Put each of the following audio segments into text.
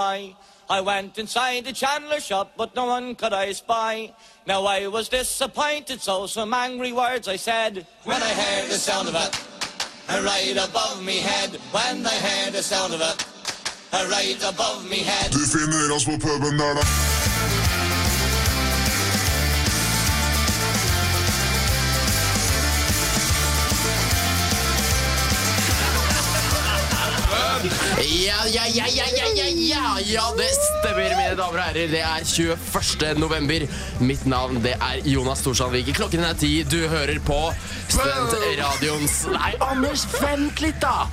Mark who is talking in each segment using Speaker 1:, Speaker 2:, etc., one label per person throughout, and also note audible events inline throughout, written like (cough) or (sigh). Speaker 1: high. I went inside the chandler shop, but no one could I spy. Now I was disappointed, so some angry words I said. When I heard the sound of it, and right above me head. When I heard the sound of it, and right above me head.
Speaker 2: Du finner oss på puben der, da.
Speaker 3: Ja, ja, ja, ja, ja, ja, ja, ja, det stemmer, mine damer og herrer. Det er 21. november. Mitt navn det er Jonas Storsandvik. Klokken er ti. Du hører på Studentradioens Nei, Anders, vent litt, da!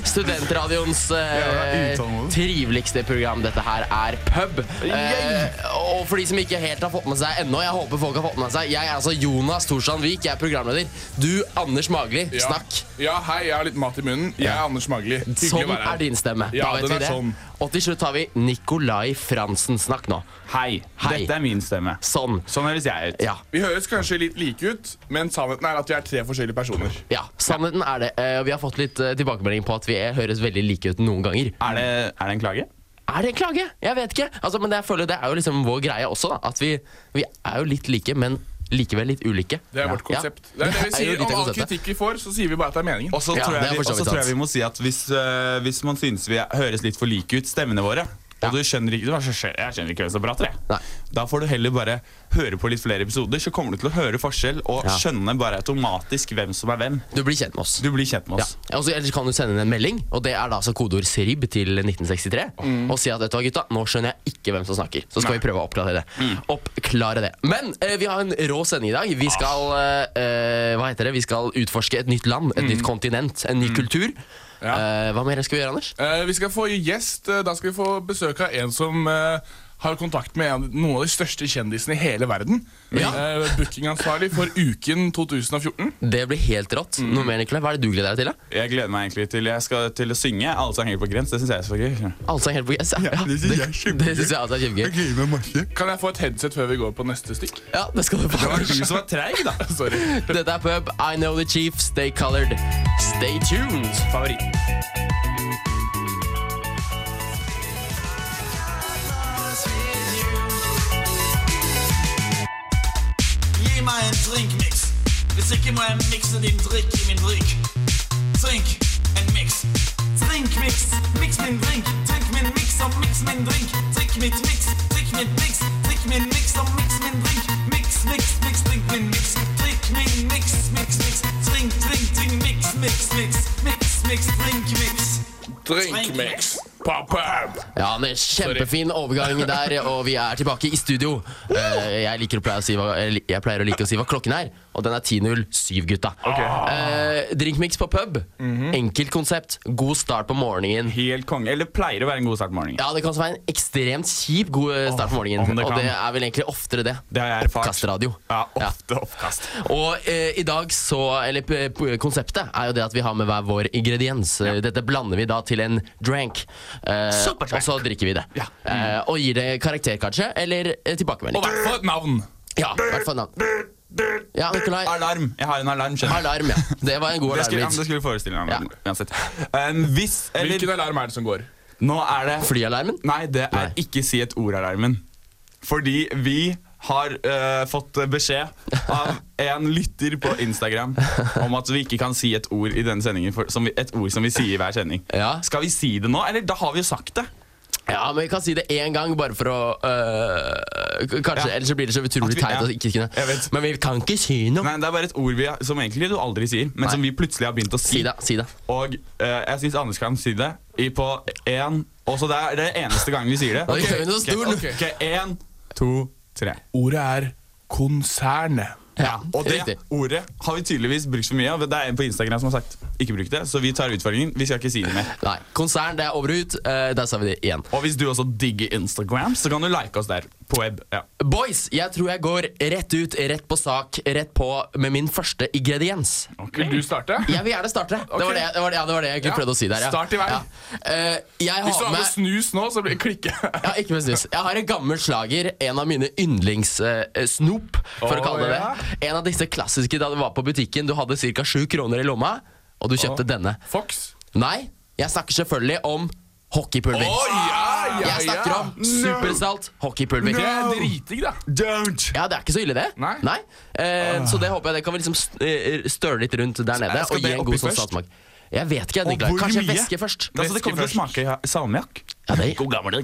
Speaker 3: Studentradioens eh, triveligste program. Dette her er pub. Eh, og for de som ikke helt har fått med seg ennå, jeg håper folk har fått med seg Jeg er altså Jonas Storsandvik, jeg er programleder. Du, Anders Magli.
Speaker 4: Ja.
Speaker 3: Snakk.
Speaker 4: Ja, hei, jeg har litt mat i munnen. Jeg er Anders Magli. Hyggelig å
Speaker 3: Sånn
Speaker 4: være her.
Speaker 3: er din stemme.
Speaker 4: Ja,
Speaker 3: da vet vi
Speaker 4: den er
Speaker 3: det.
Speaker 4: sånn.
Speaker 3: Og til slutt har vi Nicolai Fransen. Snakk nå.
Speaker 5: Hei,
Speaker 3: Hei.
Speaker 5: dette er min stemme.
Speaker 3: Sånn.
Speaker 5: Sånn høres jeg ut.
Speaker 3: Ja.
Speaker 4: Vi høres kanskje litt like ut, men sannheten er at vi er tre forskjellige personer.
Speaker 3: ja. Sannheten er det. Eh, Vi har fått litt eh, tilbakemelding på at vi er- høres veldig like ut noen ganger.
Speaker 5: Er det, er det en klage?
Speaker 3: Er det en klage? Jeg vet ikke. Altså, men det, jeg føler, det er jo liksom vår greie også. da. At vi, vi er jo litt like, men likevel litt ulike.
Speaker 4: Det er
Speaker 3: Ja.
Speaker 4: vårt konsept.
Speaker 3: Ja.
Speaker 4: Det
Speaker 3: (laughs)
Speaker 4: er det vi
Speaker 3: jo
Speaker 4: sier
Speaker 3: litt
Speaker 4: Om
Speaker 3: av
Speaker 4: all
Speaker 3: konseptet.
Speaker 4: kritikk vi får, så sier vi bare at det er meningen.
Speaker 5: Og så
Speaker 3: Ja,
Speaker 5: tror,
Speaker 3: det er
Speaker 5: jeg vi-
Speaker 3: for så
Speaker 5: og så
Speaker 3: vidt
Speaker 5: tror jeg
Speaker 3: sant.
Speaker 5: vi må si at hvis, øh, hvis man synes vi er, høres litt for like ut, stemmene våre
Speaker 3: Ja.
Speaker 5: Og du skjønner ikke, du bare, skjønner, jeg skjønner ikke hvem som prater, jeg.
Speaker 3: Nei.
Speaker 5: Da får du heller bare høre på litt flere episoder, så kommer du til å høre forskjell og
Speaker 3: Ja.
Speaker 5: skjønne bare automatisk hvem som er hvem.
Speaker 3: Du blir kjent med oss.
Speaker 5: Du blir kjent med
Speaker 3: Ja.
Speaker 5: oss.
Speaker 3: Og så ellers kan du sende inn en melding, og det er da altså kodeord SRIB til 1963.
Speaker 5: Mm.
Speaker 3: Og si at vet du hva, gutta, nå skjønner jeg ikke hvem som snakker. Så skal vi prøve å oppklare det.
Speaker 5: Mm.
Speaker 3: Oppklare det. Men eh, vi har en rå sending i dag.
Speaker 5: Ah.
Speaker 3: Vi skal eh, eh, Hva heter det? Vi skal utforske et nytt land, et
Speaker 5: Mm.
Speaker 3: nytt kontinent, en ny kultur. Eh, hva mer skal vi gjøre, Anders?
Speaker 4: Eh, vi skal få gjest. eh, Da skal vi få besøk av en som eh, har kontakt med en, noen av de største kjendisene i hele verden.
Speaker 3: Ja.
Speaker 4: Eh, Bookingansvarlig for Uken 2014.
Speaker 5: Eh.
Speaker 3: Det blir helt rått.
Speaker 5: Mm.
Speaker 3: Noe mer, Nicolai? Hva er det du gleder deg til? da?
Speaker 5: Jeg gleder meg egentlig til jeg skal til å synge Alle som henger på grens. Det syns jeg er så gøy.
Speaker 3: Altså, helt på yes, ja, ja,
Speaker 5: det synes jeg er kjempegøy.
Speaker 3: Det syns jeg altså er kjempegøy.
Speaker 5: gleder meg masse.
Speaker 4: Kan jeg få et headset før vi går på neste stikk?
Speaker 3: Ja, det skal du
Speaker 5: Det var
Speaker 3: få.
Speaker 5: du som var treig, da.
Speaker 4: (laughs) Sorry.
Speaker 3: Dette er pub. I know the chief. Stay colored. Stay tuned.
Speaker 5: Favoritt.
Speaker 6: Gi meg en drinkmix. Hvis ikke må jeg mikse din drikk i min drikk. Drink en mix. Drinkmix. Mix min drink. Drikk min mix og mix min drink. Drikk mitt mix. Drikk mitt mix. Drikk min mix og mix min drink. Mix, mix, mix. Drikk min mix. Drikk min mix. Mix, mix. Drink, drink, drink. Mix, mix, mix. Mix, mix. Drink, mix.
Speaker 4: Drinkmix. Pop-up.
Speaker 3: Ja, Anders, Kjempefin overgang der,
Speaker 5: (laughs)
Speaker 3: og vi er tilbake i studio. Eh, jeg, liker å pleie å si hva, eller jeg pleier å like å si hva klokken er, og den er 10.07, gutta. Eh, drinkmix på pub.
Speaker 5: Mhm.
Speaker 3: Enkelt konsept. God start på morgenen.
Speaker 5: Helt konge. Eller pleier å være en god start på morgenen.
Speaker 3: Ja, Det kan også være en ekstremt kjip god eh, start på morgenen,
Speaker 5: om det
Speaker 3: og det
Speaker 5: kan.
Speaker 3: er vel egentlig oftere det.
Speaker 5: Det har jeg erfart.
Speaker 3: Kastradio.
Speaker 5: Ja, ofte oppkast.
Speaker 3: Og eh, i dag så Eller p- p- konseptet er jo det at vi har med hver vår ingrediens. Eh, Dette blander vi da til en drank. Eh,
Speaker 5: Superdrank.
Speaker 3: og så drikker vi det. Eh, og gir det karakter, kanskje, eller eh, tilbakemelding.
Speaker 4: Og hva for et navn?
Speaker 3: Ja, i hvert fall navn. Ja, Nikolai.
Speaker 5: Alarm. Jeg har en alarm. skjønner du.
Speaker 3: Alarm, ja. Det var en god
Speaker 5: Det skulle, ja, men det
Speaker 3: alarmlyd.
Speaker 5: skulle forestille meg.
Speaker 3: Ja.
Speaker 5: men Uansett. Um, hvis eller
Speaker 4: Hvilken alarm er det som går?
Speaker 5: Nå er det
Speaker 3: Flyalarmen?
Speaker 5: Nei, det er
Speaker 3: Nei.
Speaker 5: ikke si et ord-alarmen. Fordi vi har eh, fått beskjed av en lytter på Instagram om at vi ikke kan si et ord i denne sendingen. For, som vi, et ord som vi sier i hver sending.
Speaker 3: Ja.
Speaker 5: Skal vi si det nå? Eller da har vi jo sagt det.
Speaker 3: Ja, men vi kan si det én gang, bare for å øh, k- Kanskje,
Speaker 5: Ja.
Speaker 3: Ellers så blir det så utrolig
Speaker 5: At vi-
Speaker 3: teit.
Speaker 5: ja.
Speaker 3: å ikke kunne-
Speaker 5: Jeg vet.
Speaker 3: Men vi kan ikke si noe.
Speaker 5: Nei, det er bare et ord vi har, som egentlig du aldri sier, men
Speaker 3: Nei.
Speaker 5: som vi plutselig har begynt å
Speaker 3: Si
Speaker 5: si.
Speaker 3: det. si det
Speaker 5: Og eh, jeg syns Anders kan si det i på én Og så det er det er eneste gangen vi sier det.
Speaker 3: Nå gjør vi noe
Speaker 5: Ok,
Speaker 3: stort.
Speaker 5: ok, Én, to, tre.
Speaker 4: Ordet er konsernet.
Speaker 3: Ja,
Speaker 5: Og det
Speaker 3: riktig.
Speaker 5: ordet har vi tydeligvis brukt for mye av. Det er en på Instagram som har sagt ikke bruk det, så vi tar utfordringen. Vi skal ikke si det mer.
Speaker 3: Nei, Konsern, det er over og ut. Eh, der sa vi det igjen.
Speaker 5: Og hvis du også digger Instagram, så kan du like oss der. På web. Ja.
Speaker 3: Boys, jeg tror jeg går rett ut, rett på sak, rett på med min første ingrediens.
Speaker 4: Vil du starte?
Speaker 3: Jeg vil gjerne starte. Det, var det, det, var det, ja, det var det jeg egentlig
Speaker 4: Ja,
Speaker 3: prøvde å si der. Ja.
Speaker 4: start i vei.
Speaker 3: Ja. Eh, jeg
Speaker 4: Hvis du
Speaker 3: har
Speaker 4: har på
Speaker 3: med
Speaker 4: snus nå, så blir (laughs) det klikke.
Speaker 3: ja, ikke med snus. Jeg har en gammel slager, en av mine yndlingssnop, for å
Speaker 4: Å,
Speaker 3: kalle det
Speaker 4: ja.
Speaker 3: det. En av disse klassiske da du var på butikken, du hadde ca. sju kroner i lomma, og du kjøpte denne.
Speaker 4: Fox.
Speaker 3: Nei, jeg snakker selvfølgelig om hockeypulver.
Speaker 4: Å ja, ja,
Speaker 3: Jeg snakker om
Speaker 4: ja.
Speaker 3: supersalt hockeypulver.
Speaker 4: Det er dritdigg, da.
Speaker 5: Don't!
Speaker 3: Ja, det er ikke så ille, det.
Speaker 4: Nei.
Speaker 3: Eh, så det håper jeg det kan vi liksom st- eh, støle litt rundt der nede
Speaker 5: skal
Speaker 3: og gi
Speaker 5: det
Speaker 3: en
Speaker 5: oppi
Speaker 3: god sånn
Speaker 5: først?
Speaker 3: saltsmak. Jeg vet ikke, jeg Nikolai.
Speaker 5: hvor
Speaker 3: Kanskje
Speaker 5: mye?
Speaker 3: væske først.
Speaker 5: Det, altså, det kommer til å smake ja, salmiakk.
Speaker 3: Ja, det, God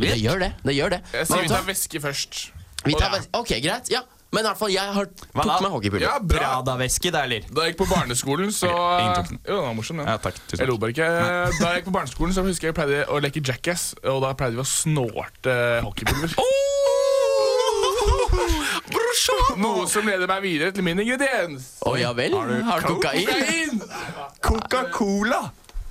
Speaker 3: Det gjør det. det, gjør det.
Speaker 4: Jeg
Speaker 3: Men
Speaker 4: sier vi
Speaker 3: vet
Speaker 4: tar
Speaker 3: du hva?
Speaker 4: væske først.
Speaker 3: vi tar væs- Ok, greit. Ja. Men i hvert fall, jeg har tok
Speaker 5: da?
Speaker 3: med hockeypulver.
Speaker 4: Ja, bra.
Speaker 5: Prada-væske, det er litt.
Speaker 4: Da jeg gikk på barneskolen, så
Speaker 5: ingen tok den.
Speaker 4: Jo, den var morsom, den.
Speaker 5: Ja, takk. Tusen
Speaker 4: Jeg lo
Speaker 5: takk.
Speaker 4: bare ikke. Da jeg gikk på barneskolen, så husker jeg jeg pleide å leke Jackass, og da pleide vi å snorte
Speaker 5: (laughs)
Speaker 4: hockeypulver.
Speaker 5: Oh!
Speaker 4: Noe som leder meg videre til min ingrediens.
Speaker 3: Å ja vel? Har du kokain?
Speaker 5: Coca-Cola!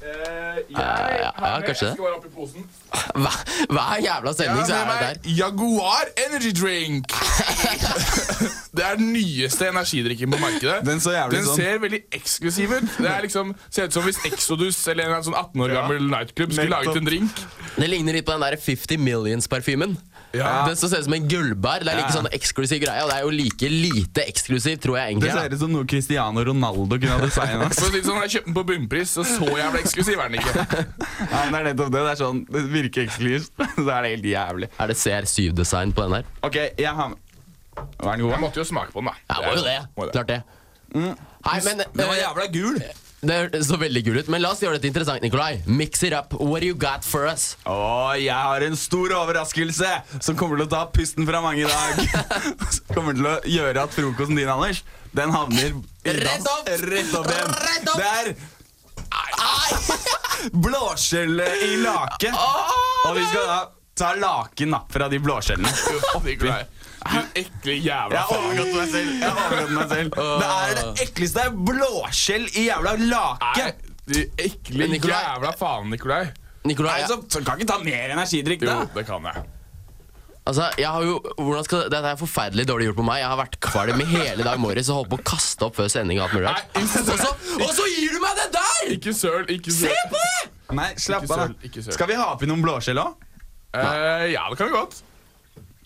Speaker 5: Eh,
Speaker 3: ja, ja, kanskje det.
Speaker 4: Jeg skal være oppi posen.
Speaker 3: (laughs) Hva, hver jævla
Speaker 4: Jeg
Speaker 3: sending så
Speaker 4: har
Speaker 3: er
Speaker 4: med
Speaker 3: det der.
Speaker 4: meg Jaguar Energy
Speaker 3: (laughs)
Speaker 4: Drink. Det er den nyeste energidrikken på markedet.
Speaker 5: Den så jævlig
Speaker 4: Den
Speaker 5: sånn-
Speaker 4: ser veldig eksklusiv ut. Det er liksom, ser ut som hvis Exodus eller en sånn 18 år gammel nightclub skulle
Speaker 5: Nettopp.
Speaker 4: laget en drink.
Speaker 3: Det ligner litt på den der 50 Millions-parfymen.
Speaker 4: Ja.
Speaker 3: Den som ser ut som en gullbar. Det er like
Speaker 5: Ja.
Speaker 3: sånn eksklusiv greie, og det er jo like lite eksklusiv, tror jeg
Speaker 5: Det
Speaker 3: egentlig.
Speaker 5: ser
Speaker 3: da.
Speaker 5: ut som noe Cristiano Ronaldo kunne ha designa. (laughs)
Speaker 4: For å si det sånn, Jeg kjøpte den på bunnpris, og så jævla eksklusiv er
Speaker 3: (laughs)
Speaker 4: den ikke.
Speaker 5: ja, men det er nettopp det. Det er sånn, det virker eksklusivt. (laughs) Så er det helt jævlig.
Speaker 3: Er det CR7-design på den her?
Speaker 5: Ok, jeg har med Var den
Speaker 4: Jeg
Speaker 5: god?
Speaker 4: måtte jo smake på den, da.
Speaker 3: Ja, det var jo det.
Speaker 4: Må det.
Speaker 3: Klart det. Nei, men eh,
Speaker 5: gul.
Speaker 3: Det så veldig gul ut, men la oss gjøre dette interessant, Nikolai. Mix it up. What do you got for us?
Speaker 5: Å, jeg har en stor overraskelse som kommer til å ta pusten fra mange i dag. (laughs) Som kommer til å gjøre at frokosten din, Anders, den havner i
Speaker 3: Rett
Speaker 5: dass.
Speaker 3: opp!
Speaker 5: Rett opp igjen.
Speaker 3: Rett opp!
Speaker 5: Det er (laughs) blåskjell i lake. Og vi skal da ta laken da, fra de blåskjellene.
Speaker 4: Nikolai, Du ekle
Speaker 5: Jeg
Speaker 4: jævla
Speaker 5: har overgått meg selv. Jeg har overgått meg selv. Det er det ekleste. Det er blåskjell i jævla lake.
Speaker 4: Nei, du ekle
Speaker 3: Men Nikolai-
Speaker 4: jævla faen, Nikolai.
Speaker 3: Nikolai,
Speaker 5: Nei, så, så kan ikke ta mer energidrikk,
Speaker 4: Jo,
Speaker 5: da.
Speaker 4: det kan jeg.
Speaker 3: altså, jeg har jo Hvordan skal Dette er forferdelig dårlig gjort på meg. Jeg har vært kvalm i hele dag morges og holdt på å kaste opp før sending. og alt mulig rart.
Speaker 4: Nei, altså, ikke-
Speaker 3: Og så- Og så gir du meg det der!
Speaker 4: Ikke søl, ikke søl.
Speaker 3: Se på det!
Speaker 5: Nei, slapp
Speaker 4: Ikke
Speaker 5: av.
Speaker 4: søl, ikke
Speaker 5: da.
Speaker 4: søl.
Speaker 5: Skal vi ha oppi noen blåskjell òg?
Speaker 4: Eh, ja, det kan vi godt.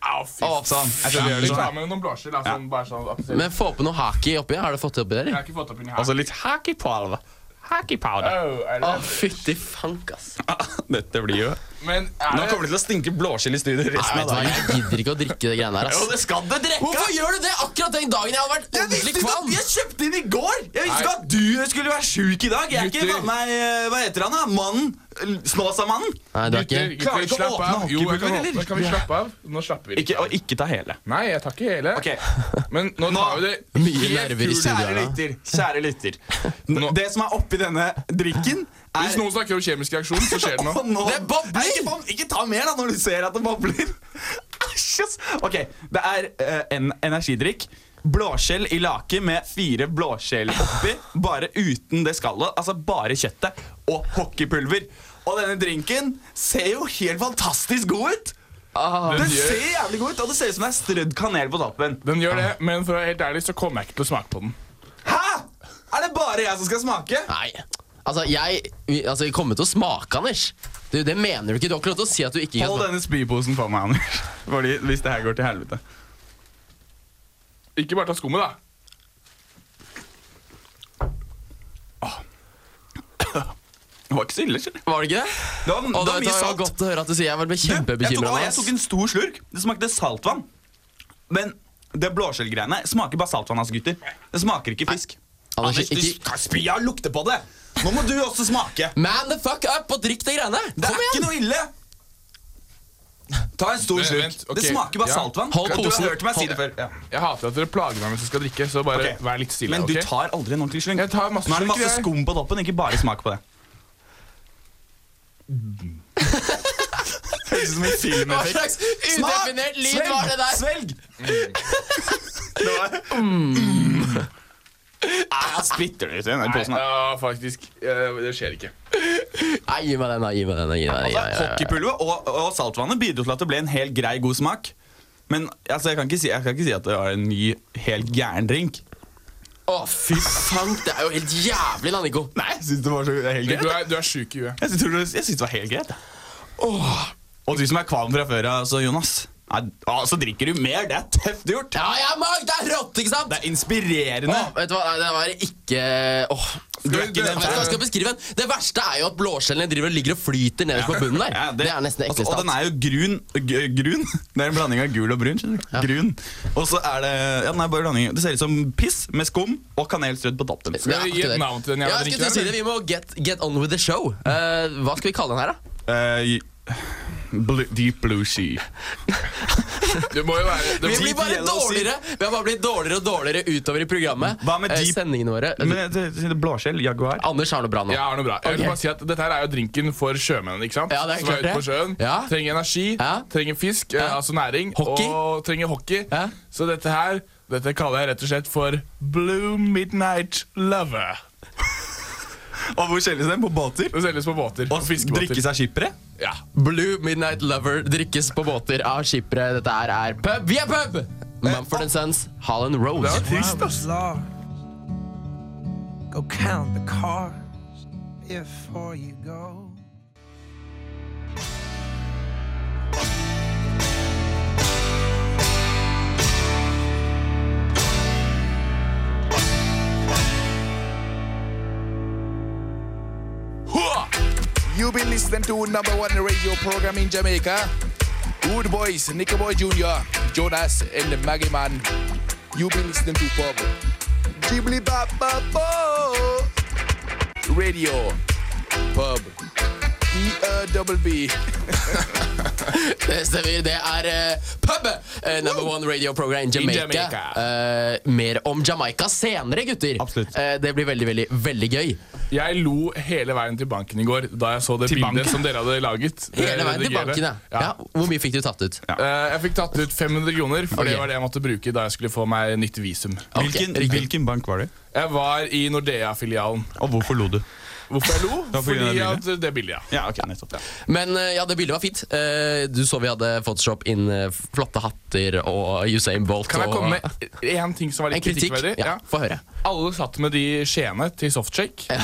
Speaker 4: Au, fy
Speaker 3: Å,
Speaker 5: Sånn. Jeg
Speaker 4: Så
Speaker 5: skjønner
Speaker 4: vi tar
Speaker 5: sånn.
Speaker 4: med noen blåskjell. da, sånn, bare sånn at-
Speaker 3: Men få på noe haki oppi. Har du fått det oppi der?
Speaker 4: Jeg
Speaker 3: eller?
Speaker 4: har ikke fått opp inni her.
Speaker 5: Og så litt hacky powder. Hacky powder.
Speaker 4: Au, er
Speaker 3: Å,
Speaker 4: det-
Speaker 3: fytti fank, ass.
Speaker 5: Dette blir jo
Speaker 4: Men er
Speaker 5: Nå kommer det til å stinke blåskjell i studio resten
Speaker 3: Nei, vet
Speaker 5: av
Speaker 3: du hva,
Speaker 5: dagen.
Speaker 3: Jeg gidder ikke å drikke det greiene der, ass.
Speaker 5: det skal du
Speaker 3: Hvorfor gjør du det akkurat den dagen jeg har vært
Speaker 5: Jeg visste
Speaker 3: ordentlig
Speaker 5: ikke at
Speaker 3: kvalm?
Speaker 5: jeg kjøpte inn i går! Jeg visste ikke
Speaker 4: Nei.
Speaker 5: at du skulle være sjuk i dag. Jeg er ikke
Speaker 4: Gutter.
Speaker 5: faen meg eh, Hva heter han, da? Mannen? Snåsamannen?
Speaker 3: Nei, det er ikke
Speaker 4: Gutter,
Speaker 5: Klarer
Speaker 4: gutter,
Speaker 5: ikke å
Speaker 4: slapp
Speaker 5: åpne
Speaker 4: av. Jo, jeg kan,
Speaker 5: hockeypulver,
Speaker 4: åpne.
Speaker 5: eller?
Speaker 4: kan vi slappe av? Nå slapper vi litt
Speaker 5: Ikke,
Speaker 4: av.
Speaker 5: og ikke ta hele.
Speaker 4: Nei, jeg tar ikke hele.
Speaker 5: Ok.
Speaker 4: Men nå
Speaker 5: Nå-
Speaker 4: tar vi det
Speaker 3: Mye nerver i studio
Speaker 5: Kjære
Speaker 3: her, da.
Speaker 5: lytter, kjære lytter. N- Det som er oppi denne drikken, er
Speaker 4: Hvis noen snakker om kjemisk reaksjon, så skjer det
Speaker 5: Å,
Speaker 4: noe.
Speaker 5: nå-
Speaker 3: Det bobler!
Speaker 5: Nei, Ikke, bob- ikke ta mer da når du ser at det bobler. (laughs) Æsj, ass. OK, det er eh, en energidrikk. Blåskjell i lake med fire blåskjell oppi, bare uten det skallet. Altså bare kjøttet og hockeypulver. Og denne drinken ser jo helt fantastisk god ut! Ah. Den
Speaker 4: gjør-
Speaker 5: ser jævlig god ut, og det ser ut som det er strødd kanel på toppen.
Speaker 4: Den gjør det, men for å være helt ærlig så kommer jeg ikke til å smake på den.
Speaker 5: Hæ?! Er det bare jeg som skal smake?
Speaker 3: Nei. Altså, jeg vi, altså, vi kommer til å smake, Anders. Du, det mener du ikke. Du har ikke lov til å si at du ikke kan
Speaker 5: Hold
Speaker 3: smake.
Speaker 5: denne spyposen for meg, Anders. Fordi Hvis det her går til helvete.
Speaker 4: Ikke bare ta skummet, da.
Speaker 5: Det var ikke så ille. skjønner du.
Speaker 3: Var det ikke det?
Speaker 5: Det var,
Speaker 3: Og
Speaker 5: det
Speaker 3: det,
Speaker 5: var
Speaker 3: det
Speaker 5: mye
Speaker 3: var
Speaker 5: salt.
Speaker 3: godt å høre at du sier jeg ble
Speaker 5: Jeg tok,
Speaker 3: kjempebekymra.
Speaker 5: å, jeg tok en stor slurk. Det smakte saltvann. Men det blåskjellgreiene smaker bare saltvann, altså, gutter. Det smaker ikke fisk.
Speaker 3: Anders,
Speaker 5: Anders, du
Speaker 3: ikke-
Speaker 5: skal spy av lukte på det! Nå må du også smake.
Speaker 3: Man the fuck up og drikk de greiene!
Speaker 5: Det er
Speaker 3: Kom
Speaker 5: ikke
Speaker 3: igjen!
Speaker 5: noe ille. Ta en stor
Speaker 4: Vent,
Speaker 5: slurk.
Speaker 4: vent, ok.
Speaker 5: Det smaker bare
Speaker 4: Ja.
Speaker 5: saltvann.
Speaker 3: Hold
Speaker 5: du
Speaker 3: posen.
Speaker 5: har hørt meg si
Speaker 3: Hold-
Speaker 5: det før. Ja.
Speaker 4: Jeg hater at dere plager meg mens jeg skal drikke, så bare
Speaker 5: Ok.
Speaker 4: vær litt stille.
Speaker 5: Men du
Speaker 4: ok?
Speaker 5: tar aldri en ordentlig slurk.
Speaker 4: Jeg tar masse
Speaker 5: Nå er det
Speaker 4: slurker,
Speaker 5: masse
Speaker 4: jeg.
Speaker 5: skum på toppen, ikke bare smak
Speaker 4: (laughs)
Speaker 5: på det. Høres ut som en film.
Speaker 3: Hva slags udefinert lyd var det der?
Speaker 5: Svelg! det var Nei, jeg spytter det ut igjen. den
Speaker 4: Nei,
Speaker 5: posen her.
Speaker 4: ja, faktisk. eh, Det skjer ikke.
Speaker 3: Nei, gi meg den, da. Gi meg den. da, Gi meg den, gi meg den, gi meg den.
Speaker 5: Altså, Hockeypulver og, og saltvannet bidro til at det ble en helt grei, god smak. Men altså, jeg, kan ikke si, jeg kan ikke si at det var en ny, helt gæren drink.
Speaker 3: Å, fy fank. Det er jo helt jævlig, da, Nico.
Speaker 5: Nei, jeg syns det var så helt
Speaker 4: Du
Speaker 5: greit.
Speaker 4: er, du er sjuk i huet.
Speaker 5: Jeg syns det, var- jeg synes det var helt greit. jeg. Og du som er kvalm fra før av, altså, Jonas. Nei, å, så drikker du mer. Det er tøft gjort.
Speaker 3: Ja, jeg har mag! Det er rått, ikke sant?
Speaker 5: Det er inspirerende.
Speaker 3: Åh, vet du hva, Nei, det var ikke Åh,
Speaker 5: Du er ikke
Speaker 3: Vet
Speaker 5: den
Speaker 3: du hva jeg
Speaker 5: fan.
Speaker 3: skal beskrive den? Det verste er jo at blåskjellene driver og ligger og flyter nederst på bunnen der.
Speaker 5: Ja,
Speaker 3: det, er nesten
Speaker 5: altså,
Speaker 3: ekle
Speaker 5: Og den
Speaker 3: stas.
Speaker 5: er jo grun, g- grun. Det er en blanding av gul og brun. skjønner du? Grun. Og så er det ja, den er bare blanding. Det ser ut som piss med skum og kanelstrødd på toppen.
Speaker 3: Det er
Speaker 4: vi
Speaker 3: akkurat
Speaker 4: gi et
Speaker 3: det.
Speaker 4: navn til
Speaker 3: Ja,
Speaker 4: den
Speaker 3: jeg
Speaker 4: jævla drinken
Speaker 3: skulle til å si
Speaker 4: her,
Speaker 3: det. Vi må get, get on with the show. Eh, hva skal vi kalle den her, da?
Speaker 5: Eh, blue, deep blue sea.
Speaker 4: Det må jo være det,
Speaker 3: Vi blir bare
Speaker 5: yellow sea.
Speaker 3: dårligere Vi har bare blitt dårligere og dårligere utover i programmet.
Speaker 5: Hva med
Speaker 3: Eh,
Speaker 5: deep-
Speaker 3: Sendingene våre.
Speaker 5: Men det- det- det er Blåskjell, Jaguar.
Speaker 3: Anders har noe bra nå.
Speaker 4: Jeg har noe bra. Jeg vil
Speaker 3: Ok.
Speaker 4: bare si at Dette her er jo drinken for sjømennene. ikke sant?
Speaker 3: Ja, det er
Speaker 4: Som
Speaker 3: klart
Speaker 4: er ute
Speaker 3: det.
Speaker 4: på sjøen.
Speaker 3: Ja.
Speaker 4: Trenger energi,
Speaker 3: Ja.
Speaker 4: trenger fisk, eh, altså næring,
Speaker 3: Hockey.
Speaker 4: og trenger hockey.
Speaker 3: Ja.
Speaker 4: Så dette her dette kaller jeg rett og slett for Blue Midnight Lover.
Speaker 5: Og hvor selges den? På båter?
Speaker 4: Det selges på båter.
Speaker 5: Og
Speaker 4: på fiskebåter.
Speaker 5: drikke seg skippere?
Speaker 4: Ja.
Speaker 3: Blue Midnight Lover drikkes på båter av skippere. Dette her er pub. Vi er
Speaker 5: Eh,
Speaker 3: pub! Mumford Sons, Holland Road.
Speaker 4: Det var trist, ass.
Speaker 7: lost. Go count the cars before you go.
Speaker 8: You be listening to number one radio program in Jamaica. Wood Boys, Nickelboy Jr., Jonas, and the Maggie Man. You be listening to Bob. Ghibli Bop Bop Bo. Radio. Pub. E-R-B-B.
Speaker 3: Det stemmer. Det er eh, pub! eh, number one radio program in Jamaica.
Speaker 4: Jamaica.
Speaker 3: Eh, mer om Jamaica senere, gutter.
Speaker 5: Absolutt.
Speaker 3: Eh, det blir veldig, veldig, veldig gøy.
Speaker 4: Jeg lo hele veien til banken i går da jeg så det
Speaker 5: Til
Speaker 4: bildet
Speaker 5: banken?
Speaker 4: som dere hadde laget. eh,
Speaker 3: (laughs) Hele veien til
Speaker 4: redigere.
Speaker 3: banken, ja. ja. Hvor mye fikk du tatt ut?
Speaker 4: Eh, jeg fikk tatt ut 500 kroner, for det
Speaker 3: Ok.
Speaker 4: var det jeg måtte bruke da jeg skulle få meg nytt visum.
Speaker 3: Ok,
Speaker 5: Hvilken,
Speaker 3: riktig.
Speaker 5: hvilken bank var det?
Speaker 4: Jeg var i Nordea-filialen.
Speaker 5: Og hvorfor lo du?
Speaker 4: Hvorfor jeg lo?
Speaker 5: var på
Speaker 4: Fordi
Speaker 5: grunn av det
Speaker 4: at det er billig, ja.
Speaker 5: Ja, ok, nettopp
Speaker 3: Men eh, ja, det bildet var fint. Eh, du så vi hadde Photoshop inn eh, flotte hatter og Usain Bolt.
Speaker 4: Kan jeg
Speaker 3: og,
Speaker 4: komme med én ting som var
Speaker 3: en
Speaker 4: litt
Speaker 3: kritikk?
Speaker 4: kritikkverdig?
Speaker 3: Ja, Få høre.
Speaker 4: Alle satt med de skjeene til softshake. Eh,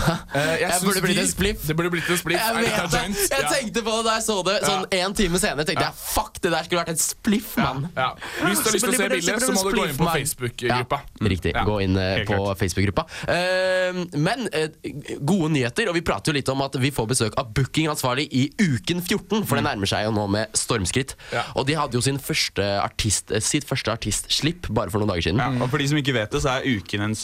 Speaker 3: Jeg
Speaker 4: syns
Speaker 3: burde blitt
Speaker 4: de-
Speaker 3: en spliff.
Speaker 4: Det burde blitt en spliff.
Speaker 3: Jeg
Speaker 4: Er dette
Speaker 3: vet det!
Speaker 4: joint?
Speaker 3: Jeg
Speaker 4: Ja.
Speaker 3: tenkte på det da jeg så det sånn en time senere. tenkte jeg, Fuck, det der skulle vært et spliff, mann.
Speaker 4: Ja. Hvis du har lyst til å se bildet, så må du gå inn på Facebook-gruppa. Mm.
Speaker 3: Ja, riktig.
Speaker 4: Ja.
Speaker 3: Gå inn eh,
Speaker 5: Helt
Speaker 3: på
Speaker 5: klart.
Speaker 3: Facebook-gruppa. Eh, men eh, gode nyheter, og vi prater jo litt om at vi får besøk av bookingansvarlig i uken 14, for det nærmer seg jo nå med stormskritt.
Speaker 4: Mm. Ja.
Speaker 3: Og de hadde jo sin første artist, eh, sitt første artistslipp bare for noen dager siden.
Speaker 5: Ja, og for de som ikke vet det, så er uken en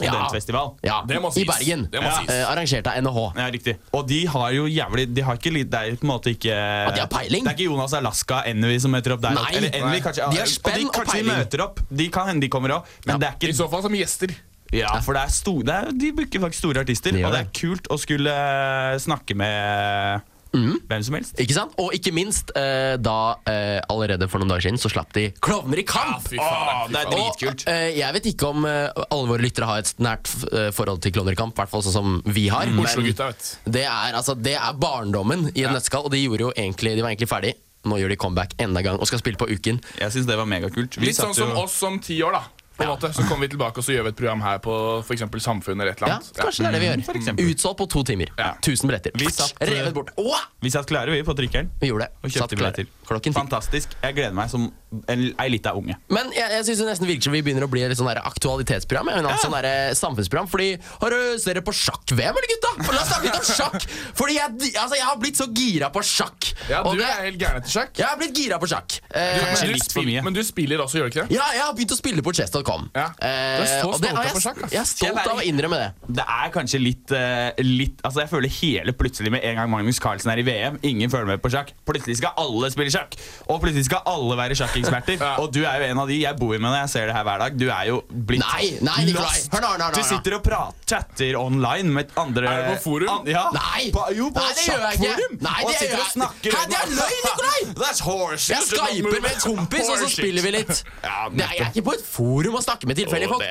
Speaker 5: studentfestival.
Speaker 3: Ja,
Speaker 4: Det må sies.
Speaker 3: I Bergen.
Speaker 4: Det må
Speaker 3: Ja.
Speaker 4: sies.
Speaker 3: Eh, arrangert av NHH.
Speaker 5: Ja, riktig. Og de har jo jævlig De har ikke li- Det er på en måte ikke
Speaker 3: de har peiling?
Speaker 5: Det er ikke Jonas Alaska Envy som møter opp der.
Speaker 3: Nei.
Speaker 5: Eller Envy,
Speaker 3: Nei.
Speaker 5: kanskje.
Speaker 3: De har spenn
Speaker 5: og, de,
Speaker 3: og
Speaker 5: kanskje de
Speaker 3: peiling. Liksom.
Speaker 5: møter opp. De kan hende de kommer òg, men det er
Speaker 4: I
Speaker 5: ikke
Speaker 4: så fall som gjester.
Speaker 5: Ja, for det er sto- det er, de booker faktisk store artister,
Speaker 3: De gjør
Speaker 5: og det er
Speaker 3: det.
Speaker 5: kult å skulle eh, snakke med
Speaker 3: Mm.
Speaker 5: hvem som helst.
Speaker 3: Ikke sant? Og ikke minst, eh, da eh, allerede for noen dager siden så slapp de Klovner i kamp!
Speaker 4: Fy faen,
Speaker 5: det er
Speaker 4: fy faen.
Speaker 5: dritkult.
Speaker 3: Og, eh, jeg vet ikke om eh, alle våre lyttere har et nært f- eh, forhold til Klovner i kamp, i hvert fall sånn som vi
Speaker 5: Mm.
Speaker 3: har.
Speaker 4: Oslo-gutta, vet
Speaker 3: det er, altså, det er barndommen i et nøtteskall, og de, gjorde jo egentlig, de var egentlig ferdig. Nå gjør de comeback enda en gang og skal spille på Uken.
Speaker 5: Jeg syns det var megakult. Vi
Speaker 4: Litt sånn
Speaker 5: satt jo-
Speaker 4: som oss om ti år, da. På en måte. Så kommer vi tilbake og så gjør vi et program her på for eksempel Samfunnet eller et eller
Speaker 3: Ja,
Speaker 4: annet.
Speaker 3: kanskje det er det vi
Speaker 5: Mm, for
Speaker 3: gjør.
Speaker 5: eksempel.
Speaker 3: Utsolgt på to timer.
Speaker 5: Ja.
Speaker 3: 1000 billetter.
Speaker 5: Vi satt, eh,
Speaker 3: Revet bort. Åh!
Speaker 5: Vi satt klare, vi, på trykkeren.
Speaker 3: Vi gjorde det.
Speaker 5: Og
Speaker 3: Satt
Speaker 5: kjøpte
Speaker 3: klare.
Speaker 5: billetter.
Speaker 3: Klokken ti.
Speaker 5: Fantastisk. Jeg gleder meg som en- ei lita unge.
Speaker 3: Men jeg, jeg synes det nesten virker som vi begynner å bli et litt sånn der aktualitetsprogram. Jeg mener, sånn der samfunnsprogram Fordi har du, Ser dere på sjakk-VM, eller gutta? For La oss snakke litt om sjakk! Fordi jeg, altså, jeg har blitt så gira på sjakk.
Speaker 4: Ja,
Speaker 3: Og
Speaker 4: du
Speaker 3: det-
Speaker 4: er helt gæren etter sjakk.
Speaker 3: Jeg har blitt gira på sjakk. Eh,
Speaker 5: Kanskje
Speaker 4: Men du,
Speaker 5: litt for
Speaker 4: spiller,
Speaker 5: mye.
Speaker 4: men du spiller også, gjør du ikke det?
Speaker 3: ja, jeg har begynt å spille på chess.com.
Speaker 4: Ja. Du er så
Speaker 3: Eh, og det-
Speaker 4: stolt av
Speaker 3: jeg-
Speaker 4: sjakk, ass.
Speaker 3: Jeg er stolt
Speaker 5: Jeg bare-
Speaker 3: av å innrømme det.
Speaker 5: Det er kanskje litt, eh, litt Altså Jeg føler hele plutselig med en gang Magnus Carlsen er i VM, ingen følger med på sjakk. Plutselig skal alle spille sjakk! Og plutselig skal alle
Speaker 3: (laughs)
Speaker 5: være sjakkeksperter.
Speaker 4: Ja.
Speaker 5: Og du er jo en av de. Jeg bor jo med deg, jeg ser det her hver dag. Du er jo blitt
Speaker 3: Nei, nei, Nikolai.
Speaker 5: lost.
Speaker 3: Hør nå, hør nå, hør nå.
Speaker 5: Du sitter og prater, chatter online med andre
Speaker 4: Er det på forum?
Speaker 5: An, ja.
Speaker 3: Nei.
Speaker 5: På, jo, på
Speaker 3: Nei, det gjør jeg ikke.
Speaker 5: sjakkforum.
Speaker 3: Nei,
Speaker 5: og
Speaker 3: det
Speaker 5: sitter
Speaker 3: gjør
Speaker 5: og
Speaker 3: jeg-
Speaker 5: snakker
Speaker 3: Hæ, det er løgn, Nikolai!
Speaker 5: That's horse
Speaker 3: Jeg skyper med en kompis, og så spiller vi
Speaker 4: (laughs)
Speaker 3: litt.
Speaker 5: Ja,
Speaker 3: Det er, jeg er ikke på et forum og snakker med tilfeldige folk.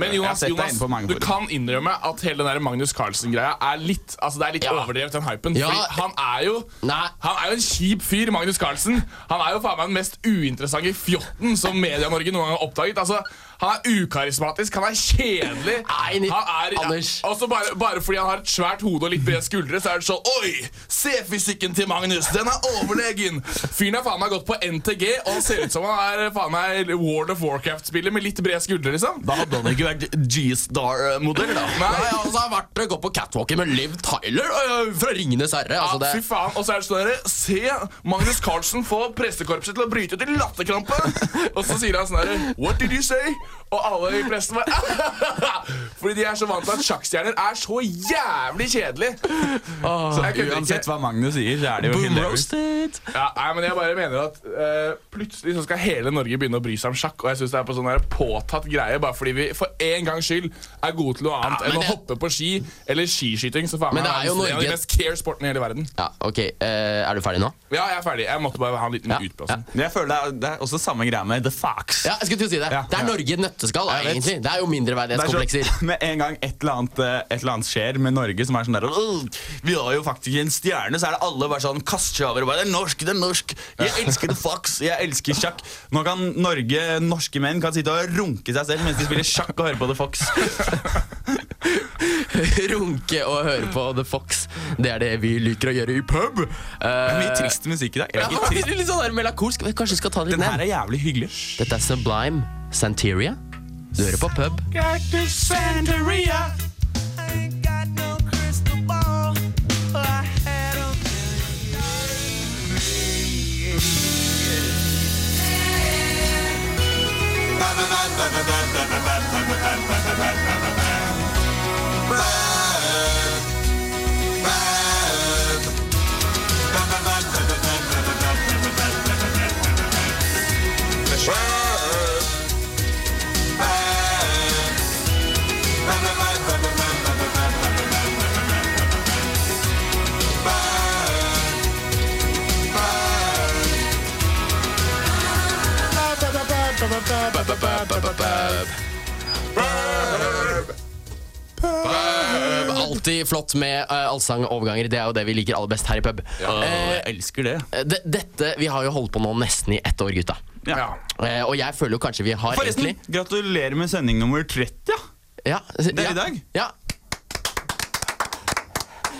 Speaker 4: Men Jonas, Jonas du kan innrømme at hele den der Magnus Carlsen-greia er litt Altså det er litt
Speaker 3: Ja.
Speaker 4: overdrevet, den hypen.
Speaker 3: Ja.
Speaker 4: Fordi han er jo
Speaker 3: Nei.
Speaker 4: Han er jo en kjip fyr, Magnus Carlsen. Han er jo faen meg den mest uinteressante fjotten som Media-Norge noen gang har oppdaget. Altså, han er ukarismatisk, han er kjedelig.
Speaker 3: Nei, ni-
Speaker 4: han er,
Speaker 3: Anders.
Speaker 4: Altså, bare, bare fordi han har et svært hode og litt brede skuldre, så er det sånn Oi! Se fysikken til Magnus! Den er overlegen! Fyren har faen meg gått på NTG, og han ser ut som han er faen meg World of Warcraft-spiller med litt brede skuldre, liksom.
Speaker 5: Da hadde han ikke vært G-star-modell, da.
Speaker 3: Nei, altså, jeg har vært og gått på catwalken med Liv Tyler øh, fra Ringenes herre. Altså,
Speaker 4: Ja,
Speaker 3: det,
Speaker 4: Ah, fy faen, og så er det sånn der, Se Magnus Carlsen få pressekorpset til å bryte ut i
Speaker 3: (laughs)
Speaker 4: latterkrampe! og så sier han sånn herre What did you say? Og alle i pressen bare (laughs) Fordi de er så vant til at sjakkstjerner er så jævlig kjedelig.
Speaker 3: Ah,
Speaker 4: Så jeg kødder
Speaker 5: Uansett
Speaker 4: ikke.
Speaker 5: hva Magnus sier, så er det jo
Speaker 3: Boom
Speaker 5: hilarious.
Speaker 3: roasted.
Speaker 4: Ja, nei, men jeg bare mener at eh, plutselig så skal hele Norge begynne å bry seg om sjakk. Og jeg synes det er på sånn her påtatt greie bare fordi vi for en gangs skyld er gode til noe annet
Speaker 3: Ja, men
Speaker 4: enn å
Speaker 3: det-
Speaker 4: hoppe på ski eller skiskyting. Så faen
Speaker 3: Men
Speaker 4: meg
Speaker 3: det er jo
Speaker 4: en av de
Speaker 3: Norge-
Speaker 4: mest care sportene i hele verden.
Speaker 3: Ja, ok. eh, er du ferdig nå?
Speaker 4: Ja, jeg er ferdig. Jeg måtte bare ha en liten
Speaker 3: Ja,
Speaker 4: utblåsning.
Speaker 5: Men jeg føler det er, det er også samme greia med The Fox.
Speaker 3: Ja, jeg skulle til å si Det
Speaker 5: Ja.
Speaker 3: Det er
Speaker 5: Ja.
Speaker 3: Norge i et nøtteskall, da,
Speaker 5: Jeg vet.
Speaker 3: egentlig. Det er jo
Speaker 5: Det er
Speaker 3: mindreverdighetskomplekser.
Speaker 5: sånn, (laughs) med en gang et eller, annet, eh, et eller annet skjer med Norge, som er sånn der «Åh, Vi har jo faktisk en stjerne, så er det alle bare sånn kaster seg over og bare Det er norsk, det er norsk. Jeg elsker The Fox, jeg elsker sjakk. Nå kan Norge, norske menn, kan sitte og runke seg selv mens de spiller sjakk og hører på The
Speaker 3: (laughs)
Speaker 5: Fox.
Speaker 3: (laughs) Runke og høre på The Fox. Det er det vi liker å gjøre i pub.
Speaker 5: Det er
Speaker 3: Uh,
Speaker 5: mye trist musikk i dag.
Speaker 3: (laughs) ja,
Speaker 5: Ikke trist.
Speaker 3: litt sånn der melankolsk. Vi Kanskje vi skal ta det litt
Speaker 5: Den her
Speaker 3: ned.
Speaker 5: er jævlig hyggelig.
Speaker 3: Dette er Sublime Santeria. Du hører på pub. Alltid flott med eh, allsangoverganger. Det er jo det vi liker aller best her i pub.
Speaker 5: Jeg
Speaker 3: Eh,
Speaker 5: elsker det.
Speaker 3: de- dette, Vi har jo holdt på nå nesten i ett år, gutta.
Speaker 5: Ja.
Speaker 3: Eh, og jeg føler jo kanskje vi har
Speaker 5: Forresten,
Speaker 3: egentlig
Speaker 5: gratulerer med sending nummer 30.
Speaker 3: ja,
Speaker 5: ja.
Speaker 3: Det
Speaker 5: er
Speaker 3: ja,
Speaker 5: i dag.
Speaker 3: Ja.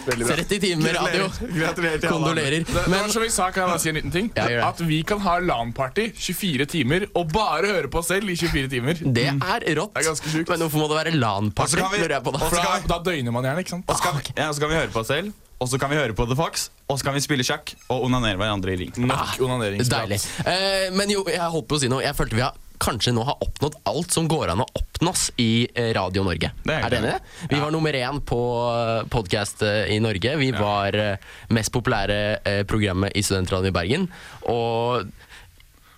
Speaker 4: Veldig bra.
Speaker 3: 30 timer radio.
Speaker 5: Gratulerer til alle.
Speaker 3: Kondolerer.
Speaker 4: Det, det var
Speaker 3: Men
Speaker 4: som vi sa, kan jeg bare si en liten ting?
Speaker 3: Ja, gjør det.
Speaker 4: At vi kan ha LAN-party 24 timer og bare høre på oss selv i 24 timer.
Speaker 3: det er rått.
Speaker 4: Det er ganske sjukt.
Speaker 3: Men hvorfor må det være
Speaker 5: Og så
Speaker 3: LAN-party?
Speaker 5: kan vi-
Speaker 3: lurer jeg på da.
Speaker 5: og
Speaker 4: For da,
Speaker 5: så skal vi-
Speaker 4: da døgner man gjerne, ikke sant?
Speaker 5: Og
Speaker 3: Ah,
Speaker 5: så, kan vi, ja, og så kan vi høre på oss selv, og så kan vi høre på The Fox, og så kan vi spille sjakk og onanere hverandre i ring.
Speaker 4: Nok onaneringsprat.
Speaker 3: Ah, Deilig. Eh, men jo, jeg holdt på å si noe. Jeg følte vi har kanskje nå har oppnådd alt som går an å oppnås i eh, Radio Norge.
Speaker 5: Det er
Speaker 3: er du
Speaker 5: helt
Speaker 3: enig i det? Vi var nummer én på podkast i Norge. Vi var eh, mest populære eh, programmet i Studentradioen i Bergen. Og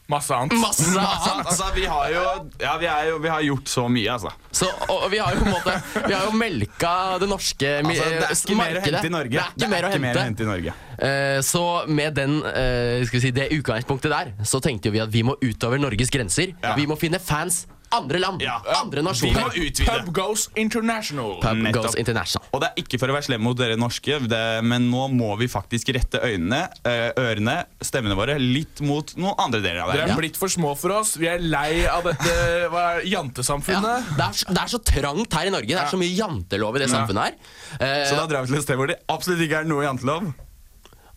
Speaker 4: Masse annet.
Speaker 3: (laughs) masse annet!
Speaker 5: Altså, vi har jo, ja, vi er jo vi har gjort så mye, altså.
Speaker 3: Så og vi har jo på en måte Vi har jo melka det norske mi-
Speaker 5: altså det er ikke mer å
Speaker 3: markedet.
Speaker 5: hente i Norge.
Speaker 3: Det er ikke mer å
Speaker 5: mer
Speaker 3: hente.
Speaker 5: i Norge.
Speaker 3: Eh, Så med den, eh, skal vi si, det utgangspunktet der, så tenkte jo vi at vi må utover Norges grenser.
Speaker 5: Ja.
Speaker 3: Vi må finne fans andre land,
Speaker 5: Ja.
Speaker 3: andre nasjoner.
Speaker 5: Vi må utvide.
Speaker 4: Pub goes international.
Speaker 3: Pub
Speaker 5: Nettopp.
Speaker 3: goes international.
Speaker 5: Og det er ikke for å være slem mot dere norske, det, men nå må vi faktisk rette øynene, eh, ørene, stemmene våre litt mot noen andre deler av
Speaker 4: Dere
Speaker 5: verden.
Speaker 4: er blitt for små for oss. Vi er lei av dette eh, hva er, det,
Speaker 3: Ja,
Speaker 4: jantesamfunnet.
Speaker 3: det, er, så- det er så trangt her i Norge. Det er så mye jantelov i det samfunnet her. Eh,
Speaker 5: Så da drar vi til et sted hvor det absolutt ikke er noe jantelov.